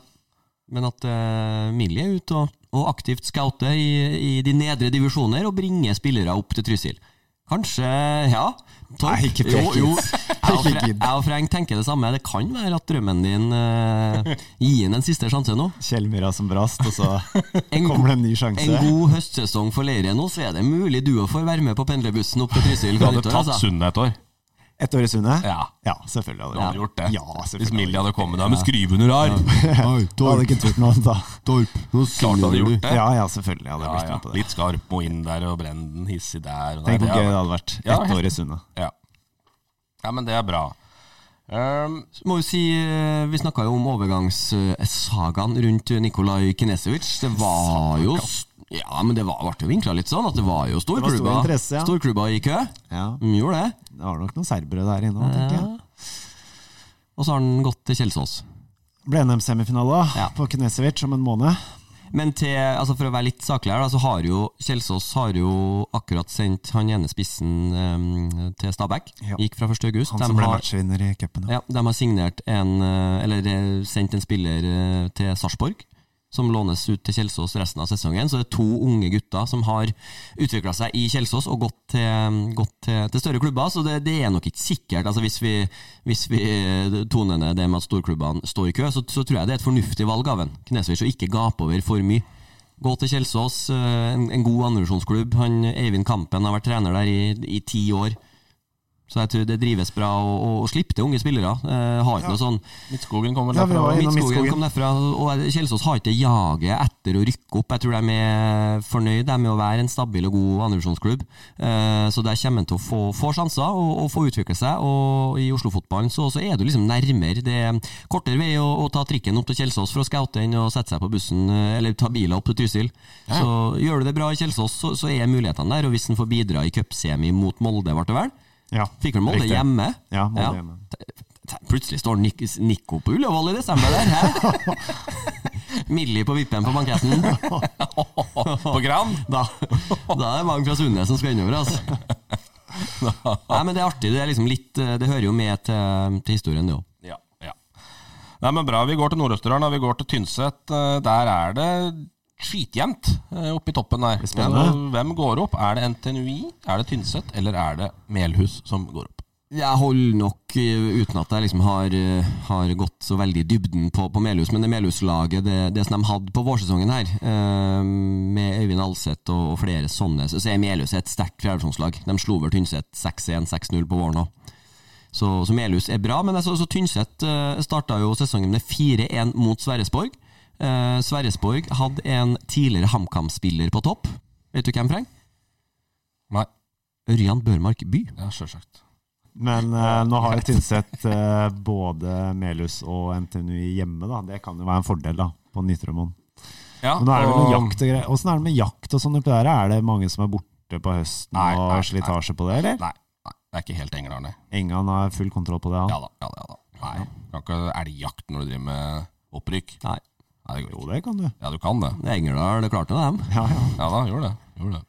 [SPEAKER 5] Men at eh, Millie er ute og, og aktivt scouter i, i de nedre divisjoner og bringer spillere opp til Trysil. Kanskje Ja. Topp.
[SPEAKER 3] Nei, ikke
[SPEAKER 5] jo,
[SPEAKER 3] pek.
[SPEAKER 5] jo. Jeg og
[SPEAKER 3] Ikke
[SPEAKER 5] Fre-
[SPEAKER 3] gidd.
[SPEAKER 5] jeg og Freng tenker det samme. Det kan være at drømmen din eh, gir den en siste sjanse nå.
[SPEAKER 3] Kjellmyra som brast, og så
[SPEAKER 5] En
[SPEAKER 3] kommer det en ny sjanse.
[SPEAKER 5] En god høstsesong for Leiren nå, så er det mulig du òg får være med på pendlerbussen opp til Trysil.
[SPEAKER 4] Du hadde
[SPEAKER 5] Gutter,
[SPEAKER 4] tatt
[SPEAKER 5] altså.
[SPEAKER 4] Sundet et år.
[SPEAKER 3] Ett år i Sundet?
[SPEAKER 4] Ja.
[SPEAKER 3] ja, selvfølgelig hadde
[SPEAKER 4] Du hadde gjort det.
[SPEAKER 3] Ja, selvfølgelig.
[SPEAKER 4] Hvis Millie hadde kommet der med skrivunder her.
[SPEAKER 3] Jeg hadde ikke turt noe annet da.
[SPEAKER 4] Klart hadde gjort det.
[SPEAKER 3] Ja, ja, selvfølgelig hadde jeg
[SPEAKER 4] Ja,
[SPEAKER 3] blitt
[SPEAKER 4] ja.
[SPEAKER 3] med på det.
[SPEAKER 4] Litt skarp og inn der og brenn den hissig der. Og der.
[SPEAKER 3] Tenk hvor
[SPEAKER 4] Det
[SPEAKER 3] gøy
[SPEAKER 4] er-
[SPEAKER 3] det hadde vært.
[SPEAKER 4] Ja,
[SPEAKER 3] Ett
[SPEAKER 4] helt-
[SPEAKER 3] år i Sundet.
[SPEAKER 4] Ja. ja, men det er bra. Ehm,
[SPEAKER 5] Så Må jo si, eh, Vi snakka jo om overgangssagaen rundt Nikolaj Kinesevic. Det var jo s- Ja, men det var, ble jo vinkla litt sånn at det var jo
[SPEAKER 3] var stor
[SPEAKER 5] storklubber
[SPEAKER 3] interesse, ja.
[SPEAKER 5] storklubber i kø.
[SPEAKER 3] Ja.
[SPEAKER 5] De gjorde det.
[SPEAKER 3] Det var nok noen serbere der inne òg, tenker jeg.
[SPEAKER 5] Og så har han gått til Kjelsås.
[SPEAKER 3] Ble NM-semifinale
[SPEAKER 5] Ja.
[SPEAKER 3] på Knesevic om en måned.
[SPEAKER 5] Men til, altså for å være litt saklig her, da, så har jo Kjelsås har jo akkurat sendt han ene spissen eh, til Stabæk.
[SPEAKER 3] Ja.
[SPEAKER 5] Gikk fra 1. august.
[SPEAKER 3] Han
[SPEAKER 5] De
[SPEAKER 3] som ble
[SPEAKER 5] har-
[SPEAKER 3] matchvinner i cupen.
[SPEAKER 5] Ja,
[SPEAKER 3] Ja.
[SPEAKER 5] de har signert en eh, Eller eh, sendt en spiller eh, til Sarpsborg. som lånes ut til Kjelsås resten av sesongen. Så det er to unge gutter som har utvikla seg i Kjelsås og gått til, eh, gått til, til større klubber. Så det, det er nok ikke sikkert. Altså hvis, vi, hvis vi eh, toner ned det med at storklubbene står i kø, så, så tror jeg det er et fornuftig valg av en Knesvic å ikke gape over for mye. Gå til Kjelsås, eh, en, en god andrevisjonsklubb. Han Eivind Kampen har vært trener der i, i ti år. Så jeg tror det drives bra og, og, og slipper til unge spillere. Eh, har ikke noe sånn
[SPEAKER 4] Midtskogen kommer
[SPEAKER 3] Ja, vi
[SPEAKER 4] derfra.
[SPEAKER 3] var innom
[SPEAKER 5] Midtskogen
[SPEAKER 3] Midtskogen.
[SPEAKER 5] kom derfra, og Kjelsås har ikke jaget etter å rykke opp. Jeg tror de er fornøyd de er med å være en stabil og god andrevisjonsklubb. Eh, Så der kommer han til å få, få sjanser og, og få utvikle seg. Og i Oslo-fotballen så, så er du liksom nærmere. Det er kortere vei å, å ta trikken opp til Kjelsås for å scoute enn å sette seg på bussen eh, eller ta biler opp til Trysil. Så gjør du det bra i Kjelsås, så, så er mulighetene der. Og hvis han får bidra i cupsemi mot Molde, ble det vel?
[SPEAKER 3] Ja,
[SPEAKER 5] Fikk vel Molde
[SPEAKER 3] riktig.
[SPEAKER 5] hjemme?
[SPEAKER 3] Ja, Molde hjemme.
[SPEAKER 5] T- Plutselig står Nik Nico på Ullevål i desember der, hæ? Millie på vippen på banketten.
[SPEAKER 4] På Gran.
[SPEAKER 5] Da, da er det mange fra Sundnes som skal innover, altså. Nei, men det er artig. Det er liksom litt eh, Det hører jo med til, til historien, det òg.
[SPEAKER 4] Ja, ja. Nei, men bra. Vi går til Nord-Østerdalen og vi går til Tynset. Eh, Der er det skitjevnt eh, oppe i toppen der.
[SPEAKER 3] spennende.
[SPEAKER 4] Men, eh, Hvem går opp? Er det NTNUI, er det Tynset eller er det Melhus som går opp?
[SPEAKER 5] Jeg holder nok eh, uten at jeg liksom har, eh, har gått så veldig i dybden på, på Melhus, men det Melhus-laget, det, det som de hadde på vårsesongen her, eh, med Øyvind Alseth og, og flere sånne, så så er Melhus et sterkt fjerdevisjonslag. De slo over Tynset 6-1-6-0 på våren òg. Så, så Melhus er bra, men jeg så, så Tynset uh, starta jo sesongen med 4-1 mot Sverresborg. Eh, Sverresborg hadde en tidligere HamKam-spiller på topp. Vet du hvem, Freng?
[SPEAKER 4] Nei,
[SPEAKER 5] Ørjan Børmark By.
[SPEAKER 4] ja, sjølsagt.
[SPEAKER 3] Men eh, nå har jo Tynset eh, både Melhus og NTNU hjemme, da. Det kan jo være en fordel, da, på Nitromon.
[SPEAKER 4] Ja,
[SPEAKER 3] Men nå er det vel
[SPEAKER 4] og-
[SPEAKER 3] noe jakt og greier. Åssen er det med jakt og sånn oppi der? Er det mange som er borte på høsten
[SPEAKER 4] Nei, nei,
[SPEAKER 3] og
[SPEAKER 4] nei.
[SPEAKER 3] slitasje på det, eller?
[SPEAKER 4] Nei, nei, det er ikke helt Engerdal, nei.
[SPEAKER 3] Engan har full kontroll på det, han.
[SPEAKER 4] Ja da, ja da. Ja, da. Nei, du kan ikke elgjakt når du driver med opprykk.
[SPEAKER 5] Nei,
[SPEAKER 4] Nei, det går
[SPEAKER 3] Jo,
[SPEAKER 4] ikke.
[SPEAKER 3] det kan du.
[SPEAKER 4] Ja, du kan det.
[SPEAKER 5] det er Engerdal, det klarte de.
[SPEAKER 3] Ja, ja.
[SPEAKER 4] Ja da, gjør det. Gjør det.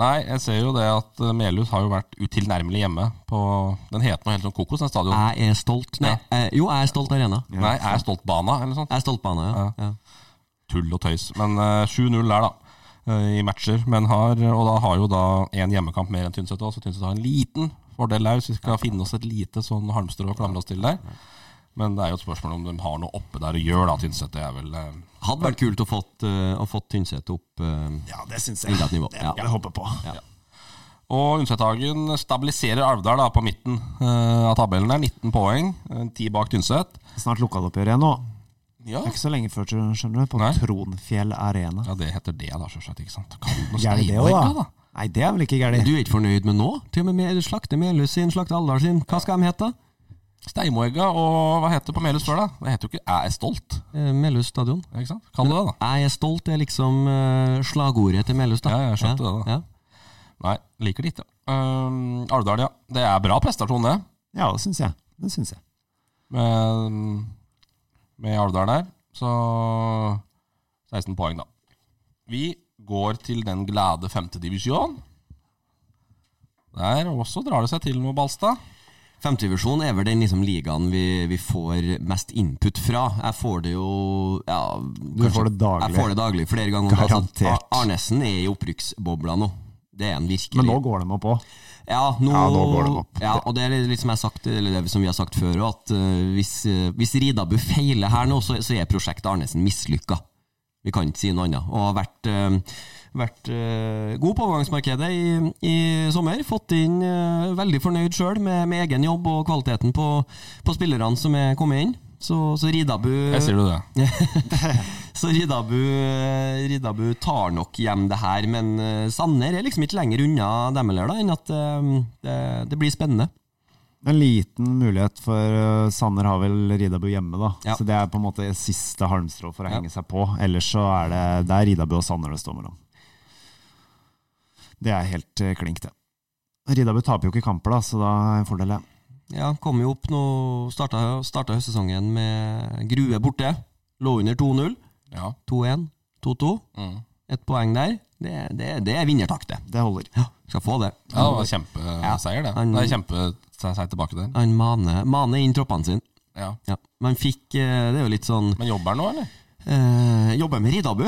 [SPEAKER 4] Nei, jeg ser jo det at eh, Melhus har jo vært utilnærmelig hjemme på Den heter noe helt sånn kokos, den stadion.
[SPEAKER 5] Jeg er stolt. Nei, eh, jo, jeg er stolt arena.
[SPEAKER 4] Nei, er stolt bana, eller noe sånt.
[SPEAKER 5] Jeg er stolt på henne, ja. ja.
[SPEAKER 4] Tull og tøys. Men eh, 7-0 der, da. eh, I matcher. Men har, og da har jo da én hjemmekamp mer enn Tynset òg, så Tynset har en liten fordel der, hvis vi skal finne oss et lite sånn halmstrå å klamre oss til der. Men det er jo et spørsmål om de har noe oppe der å gjøre, da, Tynset. Det er vel eh,
[SPEAKER 5] Hadde vært kult å fått, eh, å fått Tynset opp eh,
[SPEAKER 3] ja det syns
[SPEAKER 5] enda et nivå. Ja.
[SPEAKER 3] Jeg håper på.
[SPEAKER 4] Og Unsethagen stabiliserer Alvdal da, på midten eh, av tabellen. der, 19 poeng, eh, 10 bak Tynset.
[SPEAKER 3] Snart lokaloppgjør igjen nå.
[SPEAKER 4] Ja.
[SPEAKER 3] Det er ikke så lenge før, skjønner du. På
[SPEAKER 4] Nei.
[SPEAKER 3] Tronfjell Arena.
[SPEAKER 4] ja, det heter det, da, selvsagt. ikke sant? Kan du noe
[SPEAKER 3] Gærent det
[SPEAKER 4] stein-
[SPEAKER 3] òg,
[SPEAKER 4] Ja,
[SPEAKER 3] da? Nei, det er vel ikke gærent.
[SPEAKER 5] Du er ikke fornøyd med nå? Til og med med slakte Melhus sin, slakte Alvdal sin. Hva skal de hete?
[SPEAKER 4] Steimoegga og hva heter det på Melhus før, da? Det heter jo ikke 'Jeg er stolt'.
[SPEAKER 5] Eh, Melhus stadion.
[SPEAKER 4] ikke sant? Kall det det, da.
[SPEAKER 5] Jeg er stolt er liksom eh, slagordet til Melhus, da.
[SPEAKER 4] Ja, jeg skjønte det da.
[SPEAKER 5] Ja.
[SPEAKER 4] Nei, liker det ikke. Um, Alvdal, ja. Det er bra prestasjon, det.
[SPEAKER 3] Ja, det syns jeg. Det synes jeg.
[SPEAKER 4] Med, med Alvdal der. Så 16 poeng, da. Vi går til den glade femtedivisjon. Der også drar det seg til med Balstad.
[SPEAKER 5] Femtedivisjon er vel den liksom ligaen vi, vi får mest input fra. Jeg får det jo ja, kanskje-
[SPEAKER 3] får det daglig.
[SPEAKER 5] Jeg får det daglig flere ganger. Altså,
[SPEAKER 3] Garantert.
[SPEAKER 5] Ar- Arnesen er i opprykksbobla nå. Det er han virkelig.
[SPEAKER 3] Men nå går de opp òg.
[SPEAKER 5] Ja, nå,
[SPEAKER 3] Ja, nå går det opp.
[SPEAKER 5] Ja, og det er litt som, jeg har sagt, eller det som vi har sagt før, også, at eh, hvis, eh, hvis Ridabu feiler her nå, så, så er prosjektet Arnesen mislykka. Vi kan ikke si noe annet. Og har vært, eh, vært eh, god på overgangsmarkedet i, i sommer. Fått inn eh, veldig fornøyd sjøl med, med egen jobb og kvaliteten på, på spillerne som er kommet inn. Så, så Ridabu
[SPEAKER 4] Jeg sier du det.
[SPEAKER 5] så Ridabu, Ridabu tar nok hjem det her, men eh, Sanner er liksom ikke lenger unna dem heller, da, enn at eh, det, det blir spennende.
[SPEAKER 3] En liten mulighet for uh, Sanner har vel Ridabu hjemme, da.
[SPEAKER 5] Ja.
[SPEAKER 3] Så det er på en måte siste halmstrå for å
[SPEAKER 5] Ja.
[SPEAKER 3] henge seg på. Ellers så er det, det er Ridabu og Sanner det står mellom. Det er helt uh, klink, det. Ridabu taper jo ikke kamper, da, så da er en fordel, det.
[SPEAKER 5] Ja, kom jo opp nå, starta, starta høstsesongen med Grue borte. Lå under 2-0.
[SPEAKER 4] Ja.
[SPEAKER 5] 2-1, 2-2.
[SPEAKER 4] Mm.
[SPEAKER 5] Ett poeng der. Det, det, det er vinnertakt, det.
[SPEAKER 3] Det holder.
[SPEAKER 5] Ja, skal få det.
[SPEAKER 4] ja, det var kjempeseier, det. Det er kjempeseier tilbake der.
[SPEAKER 5] Han maner, maner inn troppene sine.
[SPEAKER 4] Ja.
[SPEAKER 5] Ja. Man fikk eh, Det er jo litt sånn
[SPEAKER 4] Men jobber han nå, eller?
[SPEAKER 5] Eh, jobber med Ridabu.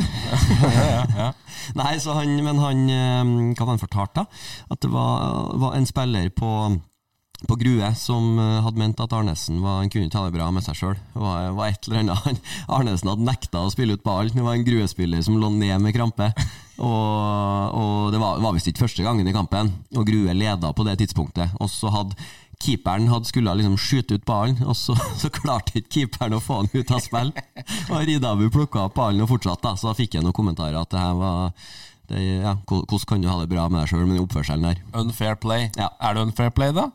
[SPEAKER 5] Nei, så han, men han eh, Hva var han fortalte, da? At det var, var en spiller på, på Grue som eh, hadde ment at Arnesen var, han kunne ta det bra med seg sjøl. Var, var et eller annet. Han, Arnesen hadde nekta å spille ut ball. Det var en Grue-spiller som lå ned med krampe. Og, og det var, var visst ikke første gangen i kampen, og Grue leda på det tidspunktet. Og så hadde keeperen hadde skulle liksom skyte ut ballen, og så, så klarte ikke keeperen å få han ut av spill. Og Ridabu plukka opp ballen og fortsatte, da. så da fikk jeg noen kommentarer at det her var det, ja, ko- Hvordan kan du ha det bra med deg sjøl med den oppførselen der?
[SPEAKER 4] Unfair play.
[SPEAKER 5] Ja.
[SPEAKER 4] Er det unfair play, da?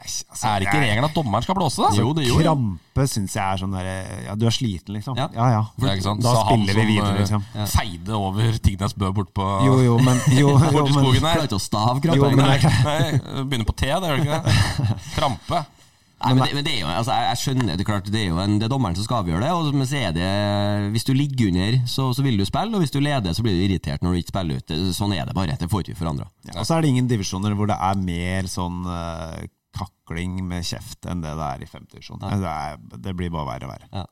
[SPEAKER 4] er altså, det ikke regelen at dommeren skal blåse, da?
[SPEAKER 5] Jo, det gjorde jeg.
[SPEAKER 3] Krampe syns jeg er sånn derre Ja, du er sliten, liksom.
[SPEAKER 5] Ja.
[SPEAKER 3] Ja ja.
[SPEAKER 4] Det er ikke sant?
[SPEAKER 3] Da
[SPEAKER 4] Sa han
[SPEAKER 3] spiller vi
[SPEAKER 4] som,
[SPEAKER 3] videre,
[SPEAKER 4] eh,
[SPEAKER 3] liksom.
[SPEAKER 4] Feide over Tingnes Bø bort på
[SPEAKER 3] Jo jo, men Jo, jo,
[SPEAKER 4] bort i
[SPEAKER 3] men,
[SPEAKER 4] skogen
[SPEAKER 5] Klarer
[SPEAKER 4] her.
[SPEAKER 5] ikke å stave
[SPEAKER 3] jo, men
[SPEAKER 5] krampen.
[SPEAKER 3] det er klart.
[SPEAKER 4] Nei, begynner på T, det gjør det ikke det? Krampe.
[SPEAKER 5] Nei, men, det, men det er jo, altså, jeg, jeg skjønner det klart, det er jo en, det er dommeren som skal avgjøre det. Og, men så er det, hvis du ligger under, så, så vil du spille, og hvis du leder, så blir du irritert når du ikke spiller ut. Det- Sånn er det bare. Det får ikke vi forandra.
[SPEAKER 3] Ja, og så er det ingen divisjoner hvor det er mer sånn eh, kakling med kjeft enn det det er i femtedivisjon. Det, er- det blir bare verre og verre.
[SPEAKER 5] Ja.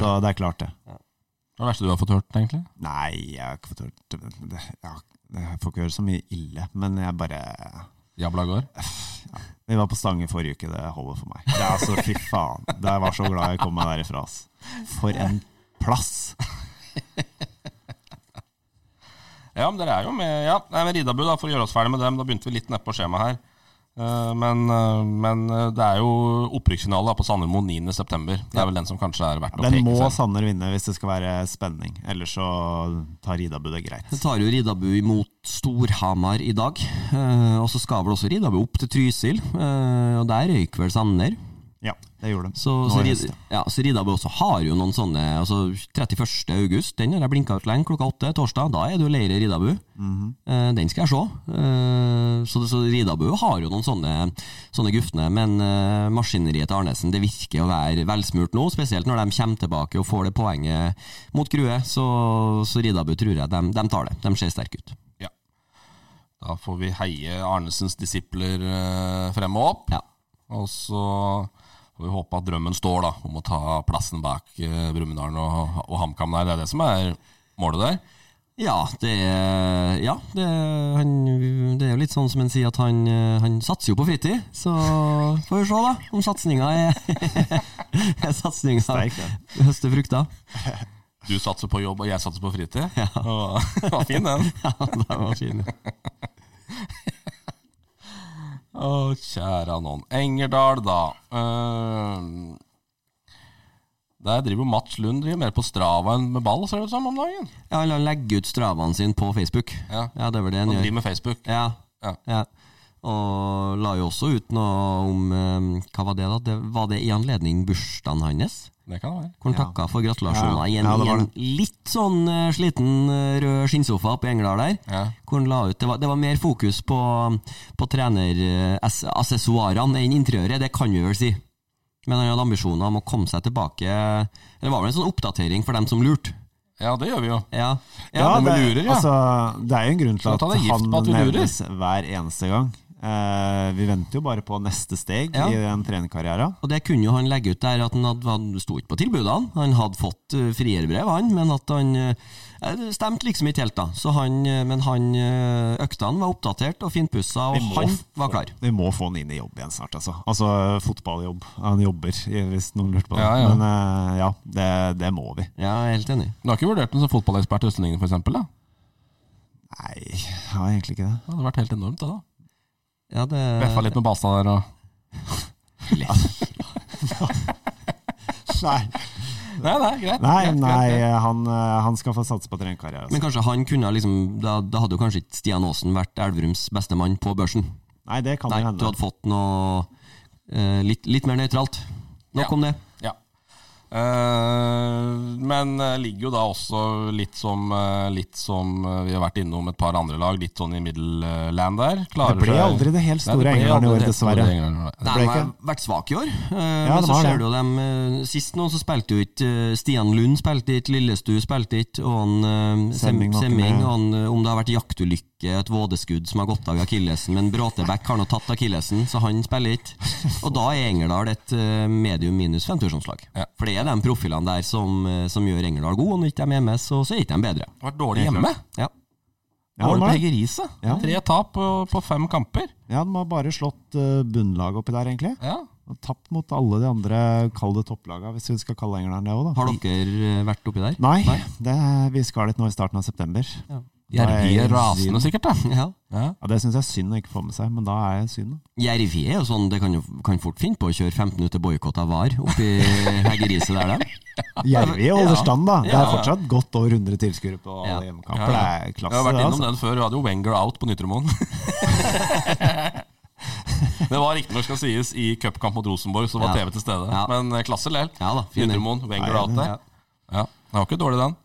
[SPEAKER 3] Så det er klart, det.
[SPEAKER 4] Hva er det verste du har fått hørt, egentlig?
[SPEAKER 3] Nei, jeg har ikke fått hørt det- ja, Jeg får ikke høre så mye ille, men jeg bare
[SPEAKER 4] Jabla gård.
[SPEAKER 3] Vi var på Stange forrige uke, det holder for meg. Det er altså, Fy faen. Det- Jeg var så glad jeg kom meg derifra. ass. For en plass!
[SPEAKER 4] Ja, men dere er jo med. Ja, Nei, men Ridabu, da, for å gjøre oss ferdig med dem, da begynte vi litt nedpå skjemaet her. Eh, Men, eh, men eh, det er jo opprykksfinale da, på Sandermo 9.9. Det er vel den som kanskje er verdt å
[SPEAKER 3] Den
[SPEAKER 4] peke
[SPEAKER 3] må
[SPEAKER 4] seg.
[SPEAKER 3] Sanner vinne hvis det skal være spenning. Ellers så tar Ridabu det greit.
[SPEAKER 5] Så tar jo Ridabu imot Storhamar i dag. eh, og så skal vel også Ridabu opp til Trysil, eh, og der røyk vel Sanner.
[SPEAKER 3] Ja, det gjorde de.
[SPEAKER 5] Så,
[SPEAKER 3] Nå
[SPEAKER 5] så,
[SPEAKER 3] i
[SPEAKER 5] Rid,
[SPEAKER 3] høst, ja.
[SPEAKER 5] ja, så Ridabu også har jo noen sånne altså 31. august, den har jeg blinka ut lenge, klokka åtte torsdag. Da er det jo leir i Ridabu.
[SPEAKER 3] Mhm.
[SPEAKER 5] Eh, den skal jeg se. Eh, så, så Ridabu har jo noen sånne, sånne gufne. Men eh, maskineriet til Arnesen det virker å være velsmurt nå, spesielt når de kommer tilbake og får det poenget mot Grue. Så, så Ridabu tror jeg de, de tar det. De ser sterke ut.
[SPEAKER 4] Da får vi heie Arnesens disipler eh, frem og opp.
[SPEAKER 5] Ja.
[SPEAKER 4] Og så får vi håpe at drømmen står da, om å ta plassen bak eh, Brumunddal og, og HamKam der. Det er det som er målet der.
[SPEAKER 5] Ja, det, er- ja det, er- han, det er jo litt sånn som en sier at han, eh, han satser jo på fritid. Så får vi se da, om satsinga er, er satsinga
[SPEAKER 3] Sterk, det.
[SPEAKER 5] høster frukter.
[SPEAKER 4] Du satser på jobb, og jeg satser på fritid. Ja. Det var fin, den.
[SPEAKER 5] Ja, det var fint.
[SPEAKER 4] Å, kjære noen. Engerdal, da. Ehm, der driver jo Mats Lund driver mer på Strava enn med ball, ser det ut som om dagen.
[SPEAKER 5] Ja, eller han legger ut stravene sine på Facebook.
[SPEAKER 4] Ja.
[SPEAKER 5] Ja, det er vel det han
[SPEAKER 4] Han
[SPEAKER 5] gjør.
[SPEAKER 4] driver med Facebook.
[SPEAKER 5] Ja.
[SPEAKER 4] Ja.
[SPEAKER 5] ja. Og la jo også ut noe om eh, Hva var det, da? Det, var det i anledning bursdagen hans?
[SPEAKER 4] Det kan det være.
[SPEAKER 5] Hvor han takka for gratulasjoner
[SPEAKER 3] Ja,
[SPEAKER 5] i en,
[SPEAKER 3] ja, det
[SPEAKER 5] i
[SPEAKER 3] var
[SPEAKER 5] en litt sånn eh, sliten eh, rød skinnsofa på Engerdal der.
[SPEAKER 4] Ja.
[SPEAKER 5] Hvor han la ut, det var, det var mer fokus på, på trenerassessoarene enn interiøret, det kan vi vel si. Men han hadde ambisjoner om å komme seg tilbake Det var vel en sånn oppdatering for dem som lurte.
[SPEAKER 4] Ja, det gjør vi jo.
[SPEAKER 5] Ja.
[SPEAKER 3] Ja,
[SPEAKER 4] men vi
[SPEAKER 3] det,
[SPEAKER 4] lurer, ja.
[SPEAKER 3] Altså, det er jo en grunn til
[SPEAKER 4] Skal
[SPEAKER 3] at
[SPEAKER 4] ta deg gift
[SPEAKER 3] han
[SPEAKER 4] på at du lurer.
[SPEAKER 3] nevnes hver eneste gang. Eh, vi venter jo bare på neste steg
[SPEAKER 5] Ja.
[SPEAKER 3] i den trenerkarrieren.
[SPEAKER 5] Og det kunne jo han legge ut der, at han, hadde, han sto ikke på tilbudene. Han hadde fått eh, frierbrev, han, men at han eh, Det stemte liksom ikke helt, da. Så han, eh, men han eh, øktene var oppdatert og finpussa,
[SPEAKER 3] Vi
[SPEAKER 5] og
[SPEAKER 3] må
[SPEAKER 5] han
[SPEAKER 3] f-
[SPEAKER 5] var klar.
[SPEAKER 3] Vi må få han inn i jobb igjen snart, altså. Altså fotballjobb. Han jobber, hvis noen lurte på det.
[SPEAKER 4] Ja, ja.
[SPEAKER 3] Men eh, ja, det, det må vi.
[SPEAKER 5] Ja, jeg er helt enig.
[SPEAKER 4] Du har ikke vurdert den som fotballekspert i Østlendingen, for eksempel, da?
[SPEAKER 3] Nei, jeg har egentlig ikke det.
[SPEAKER 4] Det hadde vært helt enormt, det, da.
[SPEAKER 5] Ja, det
[SPEAKER 4] Beffa litt med Basta der og
[SPEAKER 3] Nei,
[SPEAKER 4] Nei, nei, greit.
[SPEAKER 3] nei,
[SPEAKER 4] greit,
[SPEAKER 3] nei
[SPEAKER 4] greit, greit.
[SPEAKER 3] han, eh, han skal få satse på trenerkarriere.
[SPEAKER 5] Men
[SPEAKER 3] Altså.
[SPEAKER 5] kanskje han kunne ha liksom Da, da hadde jo kanskje ikke Stian Aasen vært Elverums beste mann på børsen.
[SPEAKER 3] Nei, det kan
[SPEAKER 5] Nei, du
[SPEAKER 3] jo hende.
[SPEAKER 5] hadde fått noe eh, litt, litt mer nøytralt. Nok
[SPEAKER 4] Ja.
[SPEAKER 5] om det.
[SPEAKER 4] Ja. Eh, men eh, ligger jo da også litt som, eh, litt som eh, vi har vært innom et par andre lag, litt sånn i middelland der. Klarer
[SPEAKER 3] Det ble
[SPEAKER 4] seg-
[SPEAKER 3] aldri det helt
[SPEAKER 4] Nei,
[SPEAKER 3] store
[SPEAKER 4] ble
[SPEAKER 3] England i
[SPEAKER 4] aldri
[SPEAKER 3] år,
[SPEAKER 4] det helt store
[SPEAKER 3] dessverre.
[SPEAKER 4] England i år.
[SPEAKER 5] De
[SPEAKER 3] ble
[SPEAKER 5] har
[SPEAKER 3] ikke-
[SPEAKER 5] vært svake i år. eh,
[SPEAKER 3] Ja,
[SPEAKER 5] men
[SPEAKER 3] de
[SPEAKER 5] så
[SPEAKER 3] har det.
[SPEAKER 5] ser du jo dem eh, Sist nå så spilte jo ikke eh, Stian Lund spilte ikke, Lillestue spilte ikke, og han eh, Sem-
[SPEAKER 3] Semming var ikke
[SPEAKER 5] Semming
[SPEAKER 3] med.
[SPEAKER 5] og han, eh, Om det har vært jaktulykke ikke et vådeskudd som har gått av akillesen, men Bråtebekk har nå tatt akillesen, så han spiller ikke. Og da er Engerdal et eh, medium minus femtusjonslag.
[SPEAKER 4] Ja.
[SPEAKER 5] For det er de profilene der som, eh, som gjør Engerdal god, og når ikke de er med, så, så er ikke de bedre.
[SPEAKER 4] Det har vært dårlig hjemme.
[SPEAKER 5] Ja.
[SPEAKER 3] Ja,
[SPEAKER 4] Mål
[SPEAKER 3] de
[SPEAKER 4] på
[SPEAKER 3] har det.
[SPEAKER 4] Hege Riise.
[SPEAKER 3] Ja.
[SPEAKER 4] Tre tap på, på fem kamper.
[SPEAKER 3] ja, de har bare slått eh, bunnlaget oppi der, egentlig.
[SPEAKER 4] Ja.
[SPEAKER 3] Og tapt mot alle de andre, kall det topplagene, hvis vi skal kalle England det òg, da.
[SPEAKER 5] Har dere eh, vært oppi der?
[SPEAKER 3] Nei, det, vi skal dit nå i starten av september. Ja,
[SPEAKER 4] Jervi
[SPEAKER 3] Nei,
[SPEAKER 4] er rasende, sikkert. da
[SPEAKER 5] Ja.
[SPEAKER 4] ja.
[SPEAKER 3] Det syns jeg er synd å ikke få med seg, men da er jeg synd. da.
[SPEAKER 5] Jervi er jo sånn, det kan, jo, kan fort finne på å kjøre 15 minutter boikott av VAR oppi Heggeriset der, dem.
[SPEAKER 3] Jervi holder stand, da. Det
[SPEAKER 5] Ja.
[SPEAKER 3] er fortsatt godt over 100 tilskuere på alle hjemmekamper. Det er
[SPEAKER 4] Jeg har
[SPEAKER 3] klasse,
[SPEAKER 4] vært
[SPEAKER 3] det.
[SPEAKER 4] innom
[SPEAKER 3] Altså.
[SPEAKER 4] den før. Vi hadde jo Wenger out på Nytremoen. det var riktignok skal sies i cupkamp mot Rosenborg, så var
[SPEAKER 5] Ja.
[SPEAKER 4] TV til stede.
[SPEAKER 5] Ja.
[SPEAKER 4] Men eh, klasse lell.
[SPEAKER 5] Ja da, fin den.
[SPEAKER 4] Nytremoen, Wenger
[SPEAKER 3] Ja,
[SPEAKER 4] out
[SPEAKER 3] ja.
[SPEAKER 4] der. Ja, Det var ikke dårlig, den.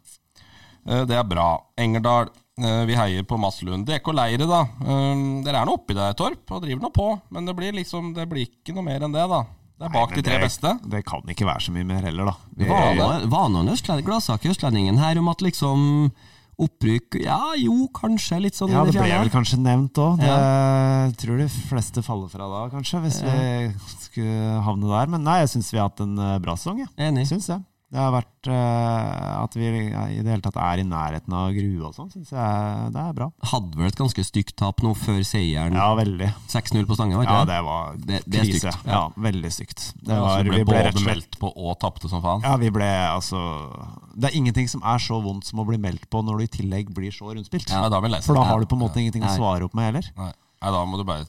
[SPEAKER 4] Eh, Det er bra. Engerdal, eh, vi heier på Maslund. DK Leire, da. Eh, Dere er nå oppi der, Torp, og driver nå på. Men det blir liksom Det blir ikke noe mer enn det, da. Det er bak
[SPEAKER 3] Nei, men
[SPEAKER 4] de tre
[SPEAKER 3] det-
[SPEAKER 4] beste.
[SPEAKER 3] Det kan ikke være så mye mer heller, da. Vi,
[SPEAKER 4] var- Ja,
[SPEAKER 5] Vana- Vanan Østlending, Gladsaker Østlendingen her om at liksom opprykk Ja, jo, kanskje litt sånn
[SPEAKER 3] ja,
[SPEAKER 5] i
[SPEAKER 3] det ble
[SPEAKER 5] fjerne.
[SPEAKER 3] vel kanskje nevnt òg. Jeg tror de fleste faller fra da, kanskje, hvis vi skulle havne der. Men nei, jeg syns vi har hatt en eh, bra sesong, jeg.
[SPEAKER 5] Enig.
[SPEAKER 3] Syns jeg. Det har vært eh, At vi i det hele tatt er i nærheten av grue og sånn, syns jeg det er bra.
[SPEAKER 5] Hadde vel et ganske stygt tap nå før seieren.
[SPEAKER 3] Ja, veldig.
[SPEAKER 5] 6-0 på Stange, var
[SPEAKER 3] Ja,
[SPEAKER 5] det?
[SPEAKER 3] det var
[SPEAKER 5] Det- det er
[SPEAKER 3] krise.
[SPEAKER 5] stygt. altså,
[SPEAKER 3] Ja. veldig stygt. Det
[SPEAKER 4] Det
[SPEAKER 3] var, vi ble rett og slett
[SPEAKER 4] meldt på og tapte som faen.
[SPEAKER 3] ja, vi ble altså Det er ingenting som er så vondt som å bli meldt på når du i tillegg blir så rundspilt.
[SPEAKER 4] Ja, da er vi lei.
[SPEAKER 3] For da har du på en måte ingenting å
[SPEAKER 5] Nei.
[SPEAKER 3] svare opp med heller.
[SPEAKER 4] Nei. Nei, da må du bare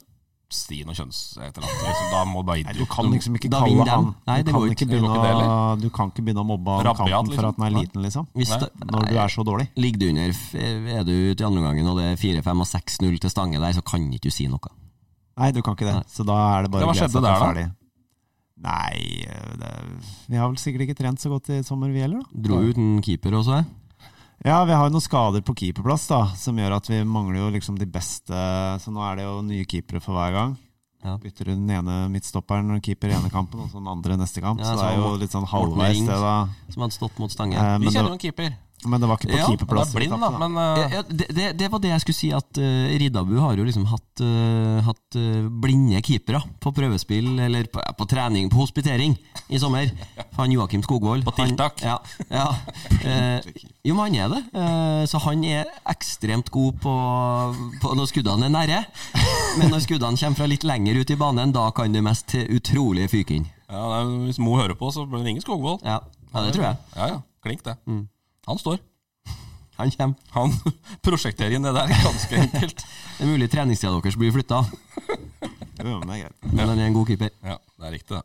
[SPEAKER 4] si noe kjønns... Et eller annet. Liksom. Da må du bare
[SPEAKER 3] Nei, du kan liksom ikke
[SPEAKER 5] Da
[SPEAKER 3] kalle
[SPEAKER 5] vinner
[SPEAKER 3] han
[SPEAKER 5] dem. Nei,
[SPEAKER 3] du,
[SPEAKER 5] det
[SPEAKER 3] kan
[SPEAKER 5] går
[SPEAKER 3] ikke
[SPEAKER 5] ikke.
[SPEAKER 4] Det går
[SPEAKER 3] begynne
[SPEAKER 4] ikke det
[SPEAKER 3] å, du kan ikke begynne å mobbe han
[SPEAKER 4] Rabiat,
[SPEAKER 3] kanten for
[SPEAKER 4] liksom.
[SPEAKER 3] at han er liten, liksom.
[SPEAKER 5] Hvis
[SPEAKER 4] Nei.
[SPEAKER 5] da-
[SPEAKER 3] Når du er så dårlig.
[SPEAKER 5] Ligger du under, f- er du ute i andre omgangen og det er 4-5 og 6-0 til Stange der, så kan ikke du si noe.
[SPEAKER 3] Nei, du kan ikke det.
[SPEAKER 5] Nei.
[SPEAKER 3] Så da er det bare
[SPEAKER 4] Ja, hva
[SPEAKER 3] å glede
[SPEAKER 4] skjedde
[SPEAKER 3] seg til
[SPEAKER 4] der,
[SPEAKER 3] ferdig. Nei det, Vi har vel sikkert ikke trent så godt i sommer, vi heller, da.
[SPEAKER 5] Dro ut en keeper også, jeg.
[SPEAKER 3] Ja, vi har jo noen skader på keeperplass da, som gjør at vi mangler jo liksom de beste Så nå er det jo nye keepere for hver gang.
[SPEAKER 5] Ja.
[SPEAKER 3] Bytter den ene midtstopperen og keeper i ene kampen, og så den andre neste kamp.
[SPEAKER 5] Ja,
[SPEAKER 3] så, det
[SPEAKER 5] så
[SPEAKER 3] er jo
[SPEAKER 5] Morten-
[SPEAKER 3] litt sånn
[SPEAKER 5] Morten
[SPEAKER 3] halvveis
[SPEAKER 5] Ring.
[SPEAKER 3] det, da.
[SPEAKER 5] som hadde stått mot Stange.
[SPEAKER 3] Eh,
[SPEAKER 4] Vi
[SPEAKER 3] men, det,
[SPEAKER 4] kjenner jo en keeper.
[SPEAKER 3] men det var ikke på
[SPEAKER 5] Ja,
[SPEAKER 4] Han
[SPEAKER 3] keeperplass.
[SPEAKER 4] er blind, da,
[SPEAKER 3] vi tapte,
[SPEAKER 4] men
[SPEAKER 5] Ja,
[SPEAKER 4] eh,
[SPEAKER 5] ja, det, det, det var det jeg skulle si, at eh, Riddabu har jo liksom hatt, eh, hatt eh, blinde keepere på prøvespill, eller på, på trening, på hospitering, i sommer. For han Joakim Skogvold
[SPEAKER 4] På
[SPEAKER 5] han-
[SPEAKER 4] tiltak.
[SPEAKER 5] Ja. ja eh, jo, men han er det. Eh, så han er ekstremt god på, på når skuddene er nære. Men når skuddene kommer fra litt lenger ut i banen, da kan det mest til utrolige fyking.
[SPEAKER 4] ja, det er- Hvis Mo hører på, så ringer Skogvold.
[SPEAKER 5] Ja. ja, det tror jeg.
[SPEAKER 4] Ja, ja. Klink, det.
[SPEAKER 3] Mm.
[SPEAKER 4] Han står.
[SPEAKER 5] Han kommer.
[SPEAKER 4] Han prosjekterer inn det der, ganske enkelt.
[SPEAKER 5] Det er mulig treningstida deres blir flytta,
[SPEAKER 3] da. Jo, men det er greit.
[SPEAKER 5] men han er en god keeper.
[SPEAKER 4] Ja, det er riktig, det.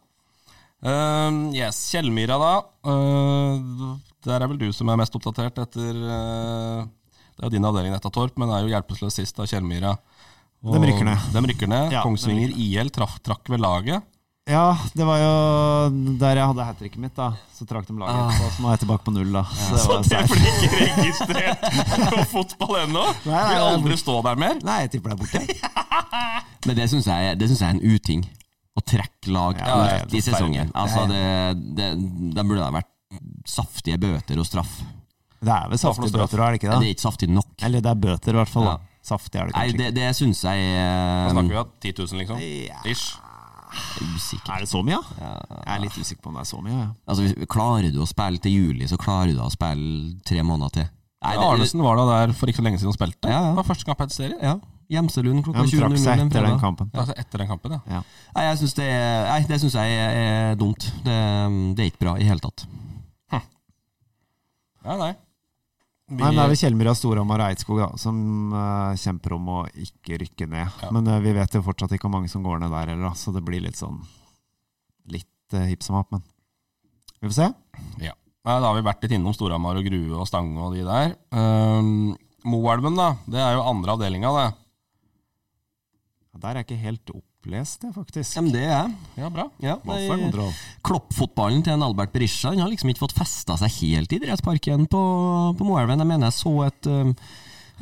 [SPEAKER 4] Ehm, yes, Kjellmyra, da. Ehm, der er vel du som er mest oppdatert etter eh, Det er jo din avdeling, dette, Torp, men er jo hjelpeløs sist av Kjellmyra. Og
[SPEAKER 3] Dem rykker ned.
[SPEAKER 4] Dem rykker ned.
[SPEAKER 3] Ja,
[SPEAKER 4] Kongsvinger IL traff, trakk ved laget.
[SPEAKER 3] Ja, det var jo der jeg hadde hat tricket mitt, da. Så trakk de laget etterpå, så nå er jeg tilbake på null, da. Ah. Så det var seier.
[SPEAKER 4] blir ikke registrert på fotball ennå!
[SPEAKER 3] nei, Vil nei. aldri
[SPEAKER 4] stå der mer.
[SPEAKER 3] Nei, jeg tipper det er borte.
[SPEAKER 5] Men det syns jeg, det synes jeg er en uting. Å trekke lag
[SPEAKER 3] Ja, det er
[SPEAKER 5] midt i
[SPEAKER 3] helt
[SPEAKER 5] sesongen.
[SPEAKER 3] forferdelig.
[SPEAKER 5] Altså, det, det, det burde ha vært saftige bøter og straff.
[SPEAKER 3] Det er vel
[SPEAKER 4] noe
[SPEAKER 3] saftige
[SPEAKER 4] straff?
[SPEAKER 3] bøter, er det ikke
[SPEAKER 5] Det
[SPEAKER 3] det?
[SPEAKER 5] er ikke saftig nok.
[SPEAKER 3] Eller det er bøter, i hvert fall. da.
[SPEAKER 5] Ja.
[SPEAKER 3] Saftig er det
[SPEAKER 5] Nei,
[SPEAKER 3] kanskje ikke.
[SPEAKER 5] det, det syns jeg
[SPEAKER 4] Da
[SPEAKER 5] er um,
[SPEAKER 4] snakker vi om 10 000, liksom. Ish.
[SPEAKER 5] usikkert.
[SPEAKER 3] Er det så mye, ja? Jeg er litt usikker på om det er så mye. Ja.
[SPEAKER 5] Altså, hvis- klarer du å spille til juli, så klarer du å spille tre måneder til. Nei, det,
[SPEAKER 4] Arnesen var da der for ikke så lenge siden og spilte.
[SPEAKER 5] Ja, ja.
[SPEAKER 4] Det var første kamp etter serien.
[SPEAKER 5] ja, Gjemselund
[SPEAKER 3] Ja,
[SPEAKER 5] klokka
[SPEAKER 3] De trakk
[SPEAKER 5] 20.00
[SPEAKER 3] seg
[SPEAKER 5] en
[SPEAKER 3] etter den
[SPEAKER 5] fredag.
[SPEAKER 3] kampen.
[SPEAKER 4] Altså etter den kampen, ja.
[SPEAKER 3] Ja.
[SPEAKER 5] Nei, jeg synes det, er- nei, det syns jeg er, er dumt. Det, det er ikke bra i hele tatt.
[SPEAKER 4] Nei, nei. Vi,
[SPEAKER 3] Nei, men Det er vel Kjellmyra, Storhamar og Eidskog da, som eh, kjemper om å ikke rykke ned. Men eh, vi vet jo fortsatt ikke hvor mange som går ned der heller, da, så det blir litt sånn Litt uh, hipp som happ, men vi får se.
[SPEAKER 4] ja. Nei, da har vi vært litt innom Storhamar og Grue og Stange og de der. Um, Moelven, da. Det er jo andre avdelinga, det.
[SPEAKER 3] Ja, Der er jeg ikke helt opplest, jeg, faktisk.
[SPEAKER 5] Ja, men det er jeg.
[SPEAKER 4] Ja, bra.
[SPEAKER 5] Ja,
[SPEAKER 3] Hva
[SPEAKER 5] nei-
[SPEAKER 3] for kontroll?
[SPEAKER 5] Kloppfotballen til en Albert Berisha Han har liksom ikke fått festa seg helt i idrettsparken på, på Moelven. Jeg mener jeg så et, um,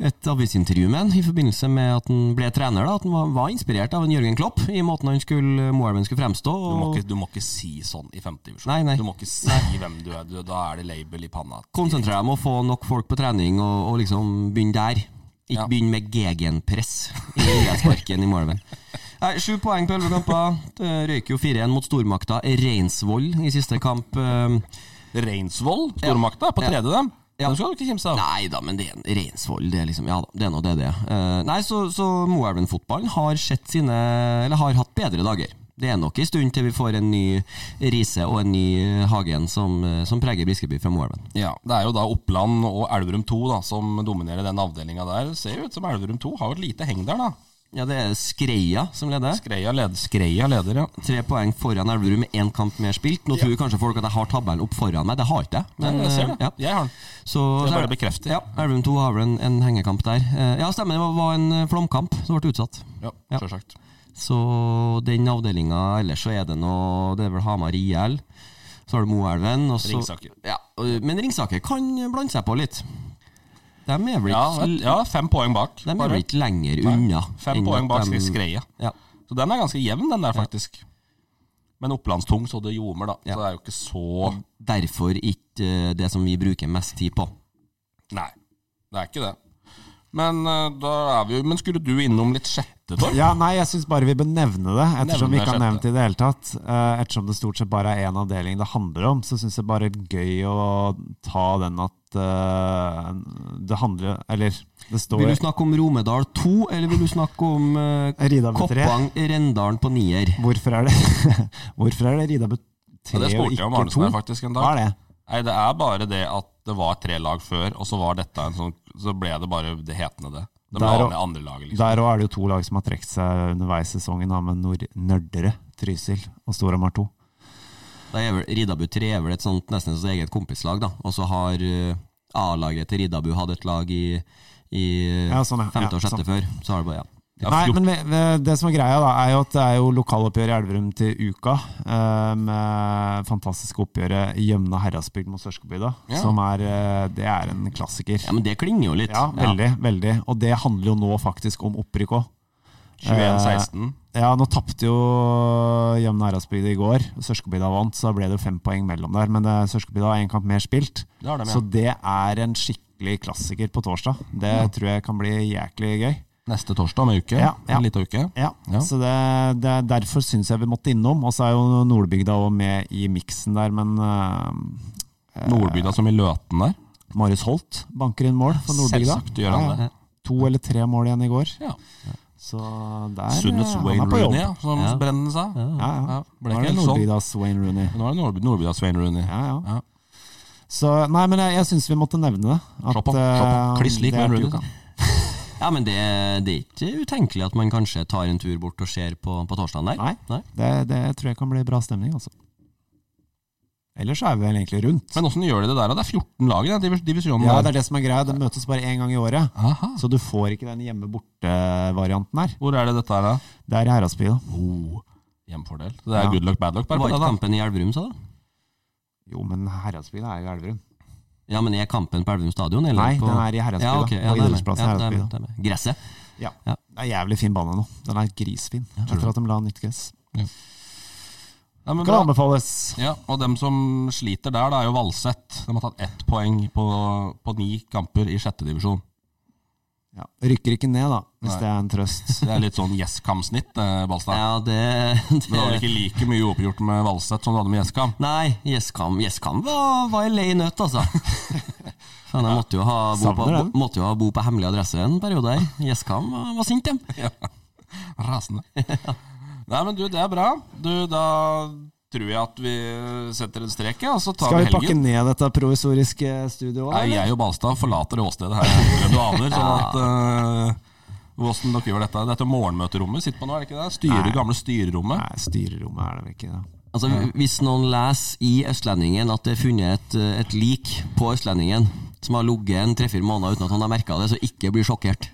[SPEAKER 5] et avisintervju med han i forbindelse med at han ble trener. da At han var, var inspirert av en Jørgen Klopp i måten han skulle, Moelven skulle fremstå.
[SPEAKER 4] Du må,
[SPEAKER 5] Og
[SPEAKER 4] ikke, du må ikke si sånn i femtedivisjon.
[SPEAKER 5] Nei, nei.
[SPEAKER 4] Du må ikke si hvem du er. Du, da er det label i panna.
[SPEAKER 5] konsentrere deg om å få nok folk på trening og, og liksom begynne der. Ikke
[SPEAKER 4] Ja.
[SPEAKER 5] begynn med gegenpress i inngangsparken i målveien. Nei, Sju poeng på elleve kamper. Det røyker jo 4-1 mot stormakta Reinsvoll i siste kamp. Eh,
[SPEAKER 4] Reinsvoll, stormakta, er på
[SPEAKER 5] Ja.
[SPEAKER 4] tredje dem.
[SPEAKER 5] Ja.
[SPEAKER 4] Dem skal du ikke kimse av.
[SPEAKER 5] Nei da, men det er en Reinsvoll. Det er liksom, ja da, det er nå det det er. Eh, nei, så, så Moelven-fotballen har sett sine Eller har hatt bedre dager. Det er nok en stund til vi får en ny Riise og en ny Hagen som, eh, som preger Briskeby fra Moelven.
[SPEAKER 4] Ja, Det er jo da Oppland og Elverum 2 da, som dominerer den avdelinga der. Det Ser jo ut som Elverum 2 har jo et lite heng der, da.
[SPEAKER 5] Ja, det er Skreia som leder.
[SPEAKER 4] Skreia leder, Skreia leder ja.
[SPEAKER 5] Tre poeng foran Elverum med én kamp mer spilt. Nå tror kanskje folk at jeg har tabellen opp foran meg, det har ikke jeg.
[SPEAKER 4] Men, jeg ser det.
[SPEAKER 5] eh, ja.
[SPEAKER 4] Jeg har den.
[SPEAKER 5] Så,
[SPEAKER 4] Det
[SPEAKER 5] så
[SPEAKER 4] er
[SPEAKER 5] er
[SPEAKER 4] bare
[SPEAKER 5] det-
[SPEAKER 4] bekreftet.
[SPEAKER 5] Ja, Elverum 2 har vel en, en hengekamp der. Eh, Ja, stemmer, det var- var en eh, flomkamp som ble utsatt.
[SPEAKER 4] Ja,
[SPEAKER 5] Ja.
[SPEAKER 4] Sjølsagt.
[SPEAKER 5] Så den avdelinga ellers så er det nå Det er vel Hamar IL. Så har du Moelven. og så-
[SPEAKER 4] Ringsaker.
[SPEAKER 5] Ja, og- men Ringsaker kan blande seg på litt. De er vel
[SPEAKER 4] Ja,
[SPEAKER 5] ikke,
[SPEAKER 4] vet- ja, fem poeng bak.
[SPEAKER 5] de er
[SPEAKER 4] bare.
[SPEAKER 5] vel ikke lenger unna.
[SPEAKER 4] Fem
[SPEAKER 5] enn
[SPEAKER 4] poeng
[SPEAKER 5] at
[SPEAKER 4] bak
[SPEAKER 5] de-
[SPEAKER 4] Skreia.
[SPEAKER 5] Ja.
[SPEAKER 4] Så den er ganske jevn, den der, faktisk. Men opplandstung, så det ljomer, da.
[SPEAKER 5] Ja.
[SPEAKER 4] Så det er jo ikke så
[SPEAKER 5] Derfor ikke eh, det som vi bruker mest tid på.
[SPEAKER 4] Nei, det er ikke det. Men, eh, da er vi, jo- men skulle du innom litt sjette, Torp?
[SPEAKER 3] Ja, nei, jeg syns bare vi bør nevne det, ettersom
[SPEAKER 4] Nevne
[SPEAKER 3] vi ikke har
[SPEAKER 4] sjette.
[SPEAKER 3] nevnt det i det hele tatt. Eh, Ettersom det stort sett bare er én avdeling det handler om, så syns jeg bare det er gøy å ta den at eh, det handler Eller det
[SPEAKER 5] Vil
[SPEAKER 3] står
[SPEAKER 5] du snakke om Romedal 2, eller vil du snakke om eh,
[SPEAKER 3] Ridabu 3.
[SPEAKER 5] Koppang Rendalen på nier?
[SPEAKER 3] Hvorfor er det Hvorfor er det Ridabu 3
[SPEAKER 4] Ja, det
[SPEAKER 3] og
[SPEAKER 4] spurte jeg om
[SPEAKER 3] ikke
[SPEAKER 4] Arnesen
[SPEAKER 3] 2?
[SPEAKER 4] her faktisk en dag.
[SPEAKER 3] Hva er det?
[SPEAKER 4] Nei, det er bare det at det var tre lag før, og så var dette en sånn Så ble det bare det hetende det. De
[SPEAKER 3] Der
[SPEAKER 4] la
[SPEAKER 3] og-
[SPEAKER 4] ned andre laget, liksom.
[SPEAKER 3] Der òg er det jo to lag som har trukket seg underveis i sesongen, da, med Nord Nørdere, Trysil og Storhamar 2.
[SPEAKER 5] Da er vel Ridabu 3 er vel et sånt nesten sitt eget kompislag, da. Og så har eh, A-laget til Ridabu hatt et lag i, i
[SPEAKER 3] Ja, sånn, ja.
[SPEAKER 5] femte
[SPEAKER 3] Ja,
[SPEAKER 5] og sjette
[SPEAKER 3] sånn.
[SPEAKER 5] før. Så har det bare, ja.
[SPEAKER 4] Ja,
[SPEAKER 3] Nei,
[SPEAKER 4] fjort-
[SPEAKER 3] men vi, vi, det som er greia, da, er jo at det er jo lokaloppgjør i Elverum til uka. eh, med fantastiske oppgjøret Jømna Herradsbygd mot Sørskobygda.
[SPEAKER 4] Ja.
[SPEAKER 3] Som er eh, Det er en klassiker.
[SPEAKER 5] ja, men det klinger jo litt.
[SPEAKER 3] Ja, eh, veldig. veldig Og det handler jo nå faktisk om opprykk òg.
[SPEAKER 4] 21-16.
[SPEAKER 3] Ja, nå tapte jo Jømna Herradsbygd i går. Sørskobygda vant, så da ble det jo fem poeng mellom der. Men eh, Sørskobygda har én kamp mer spilt.
[SPEAKER 4] Det har de, ja.
[SPEAKER 3] Så det er en skikkelig klassiker på torsdag. Det tror jeg kan bli jæklig gøy.
[SPEAKER 4] Neste torsdag om ei uke.
[SPEAKER 3] Ja, ja.
[SPEAKER 4] En liten uke.
[SPEAKER 3] Ja,
[SPEAKER 4] Ja.
[SPEAKER 3] så det, det, derfor syns jeg vi måtte innom. Og så er jo Nordbygda òg med i miksen der, men eh,
[SPEAKER 4] Nordbygda som i Løten der.
[SPEAKER 3] eh, Marius Holt banker inn mål for Nordbygda.
[SPEAKER 4] Selvsagt gjør han det.
[SPEAKER 3] To eller tre mål igjen i går,
[SPEAKER 4] Ja.
[SPEAKER 3] så der
[SPEAKER 4] Sunnets
[SPEAKER 3] eh,
[SPEAKER 4] Wayne
[SPEAKER 3] han er på jobb.
[SPEAKER 4] Rooney, ja, som
[SPEAKER 5] Ja.
[SPEAKER 4] Brennen sa.
[SPEAKER 3] Ja, ja.
[SPEAKER 4] Ja, ble
[SPEAKER 3] Nå
[SPEAKER 4] ikke
[SPEAKER 3] er det
[SPEAKER 4] helt sånn.
[SPEAKER 3] Nordbygdas Wayne Rooney.
[SPEAKER 4] Nå er det Nord Nordbygdas Wayne Rooney.
[SPEAKER 3] Ja, ja.
[SPEAKER 4] Ja.
[SPEAKER 3] Så nei, men jeg, jeg syns vi måtte nevne det. at,
[SPEAKER 4] Slapp av, slapp av.
[SPEAKER 3] eh,
[SPEAKER 4] Kliss lik
[SPEAKER 3] det er
[SPEAKER 4] Wayne
[SPEAKER 3] til
[SPEAKER 4] Rooney.
[SPEAKER 3] uka.
[SPEAKER 5] Ja, men det, det er ikke utenkelig at man kanskje tar en tur bort og ser på, på torsdagen der.
[SPEAKER 3] Nei. Det, det tror jeg kan bli bra stemning, altså. Ellers så er vi vel egentlig rundt.
[SPEAKER 4] Men åssen gjør de det der? da? Det er 14 lag i den divis- divisjonen. der.
[SPEAKER 3] Ja, det er det som er greia. Det møtes bare én gang i året.
[SPEAKER 4] Aha.
[SPEAKER 3] Så du får ikke den hjemme-borte-varianten her.
[SPEAKER 4] Hvor er det dette her, da?
[SPEAKER 3] Det er i Heradsby, da.
[SPEAKER 4] Oh, hjemfordel. Så det er
[SPEAKER 3] Ja.
[SPEAKER 4] good luck, bad luck. Bare på
[SPEAKER 5] Var
[SPEAKER 4] det,
[SPEAKER 5] ikke
[SPEAKER 4] da.
[SPEAKER 5] kampen i Elverum, sa du?
[SPEAKER 3] Jo, men Heradsby da er jo i Elverum.
[SPEAKER 5] Ja, men er kampen på Elverum stadion? Eller
[SPEAKER 3] Nei,
[SPEAKER 5] på...
[SPEAKER 3] den er i Heradsby,
[SPEAKER 5] ja,
[SPEAKER 3] da.
[SPEAKER 5] ok, ja,
[SPEAKER 3] På
[SPEAKER 5] det er med. ja,
[SPEAKER 3] idrettsplassen i
[SPEAKER 5] det er
[SPEAKER 3] Heradsby,
[SPEAKER 5] med, det er med. Gresset?
[SPEAKER 3] Ja.
[SPEAKER 5] Ja.
[SPEAKER 3] Det er jævlig fin bane nå. Den er grisfin. Etter at de la nytt gress.
[SPEAKER 4] Ja, men
[SPEAKER 3] Kan
[SPEAKER 4] bra.
[SPEAKER 3] anbefales.
[SPEAKER 4] Ja, og dem som sliter der, det er jo Valseth. De har tatt ett poeng på, på ni kamper i sjette divisjon.
[SPEAKER 3] Ja. Rykker ikke ned, da, hvis
[SPEAKER 4] Nei.
[SPEAKER 3] det er en trøst.
[SPEAKER 4] Det er litt sånn Gjesskam-snitt, eh, Balstad.
[SPEAKER 5] Ja, det,
[SPEAKER 4] Men du hadde
[SPEAKER 5] det
[SPEAKER 4] ikke like mye oppgjort med Valseth som du hadde med Gjesskam.
[SPEAKER 5] Nei, Gjesskam Gjesskam var, var en lei nøtt, altså. Faen, jeg måtte jo ha bo på,
[SPEAKER 3] Savner den.
[SPEAKER 5] bo- måtte jo ha bo på hemmelig adresse en periode her. Gjesskam var, var sint, dem.
[SPEAKER 4] Rasende. Nei, men du, det er bra. Du, da tror jeg at vi setter en strek, ja, og så tar
[SPEAKER 3] Skal
[SPEAKER 4] vi
[SPEAKER 3] vi pakke
[SPEAKER 4] helgen.
[SPEAKER 3] ned dette provisoriske studioet?
[SPEAKER 4] Nei, jeg og Balstad forlater åstedet her. Du aner, sånn at eh, Hvordan dere gjør dette Dette morgenmøterommet sitter på nå, er det ikke det? Styre, gamle styrerommet.
[SPEAKER 3] Nei, styrerommet er det vel ikke. Da.
[SPEAKER 5] Altså, hvis noen leser i Østlendingen at det er funnet et, eh, et lik på Østlendingen som har ligget en tre-fire måneder uten at han har merka det, så ikke bli sjokkert.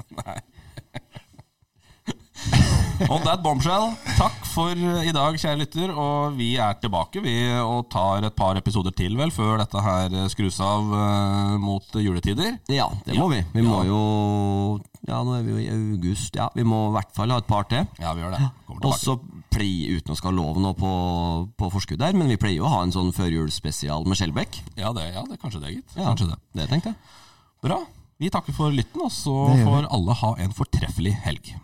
[SPEAKER 4] On that bombshell, takk for eh, i dag, kjære lytter. Og vi er tilbake, vi, og tar et par episoder til, vel, før dette her skrus av eh, mot juletider.
[SPEAKER 5] Ja, det må vi. Vi må jo Ja, nå er vi jo i august. Ja, Vi må i hvert fall ha et par til.
[SPEAKER 4] Ja, vi gjør det. Kommer tilbake.
[SPEAKER 5] Og så pleier, uten å skal love noe på, på forskudd der, men vi pleier jo å ha en sånn førjulsspesial med Skjelbæk.
[SPEAKER 4] Ja, det, ja det, kanskje det, gitt.
[SPEAKER 5] Ja,
[SPEAKER 4] Kanskje det.
[SPEAKER 5] Det tenkte jeg.
[SPEAKER 4] Bra. Vi takker for lytten, og så
[SPEAKER 3] Det gjør vi.
[SPEAKER 4] får alle ha en fortreffelig helg.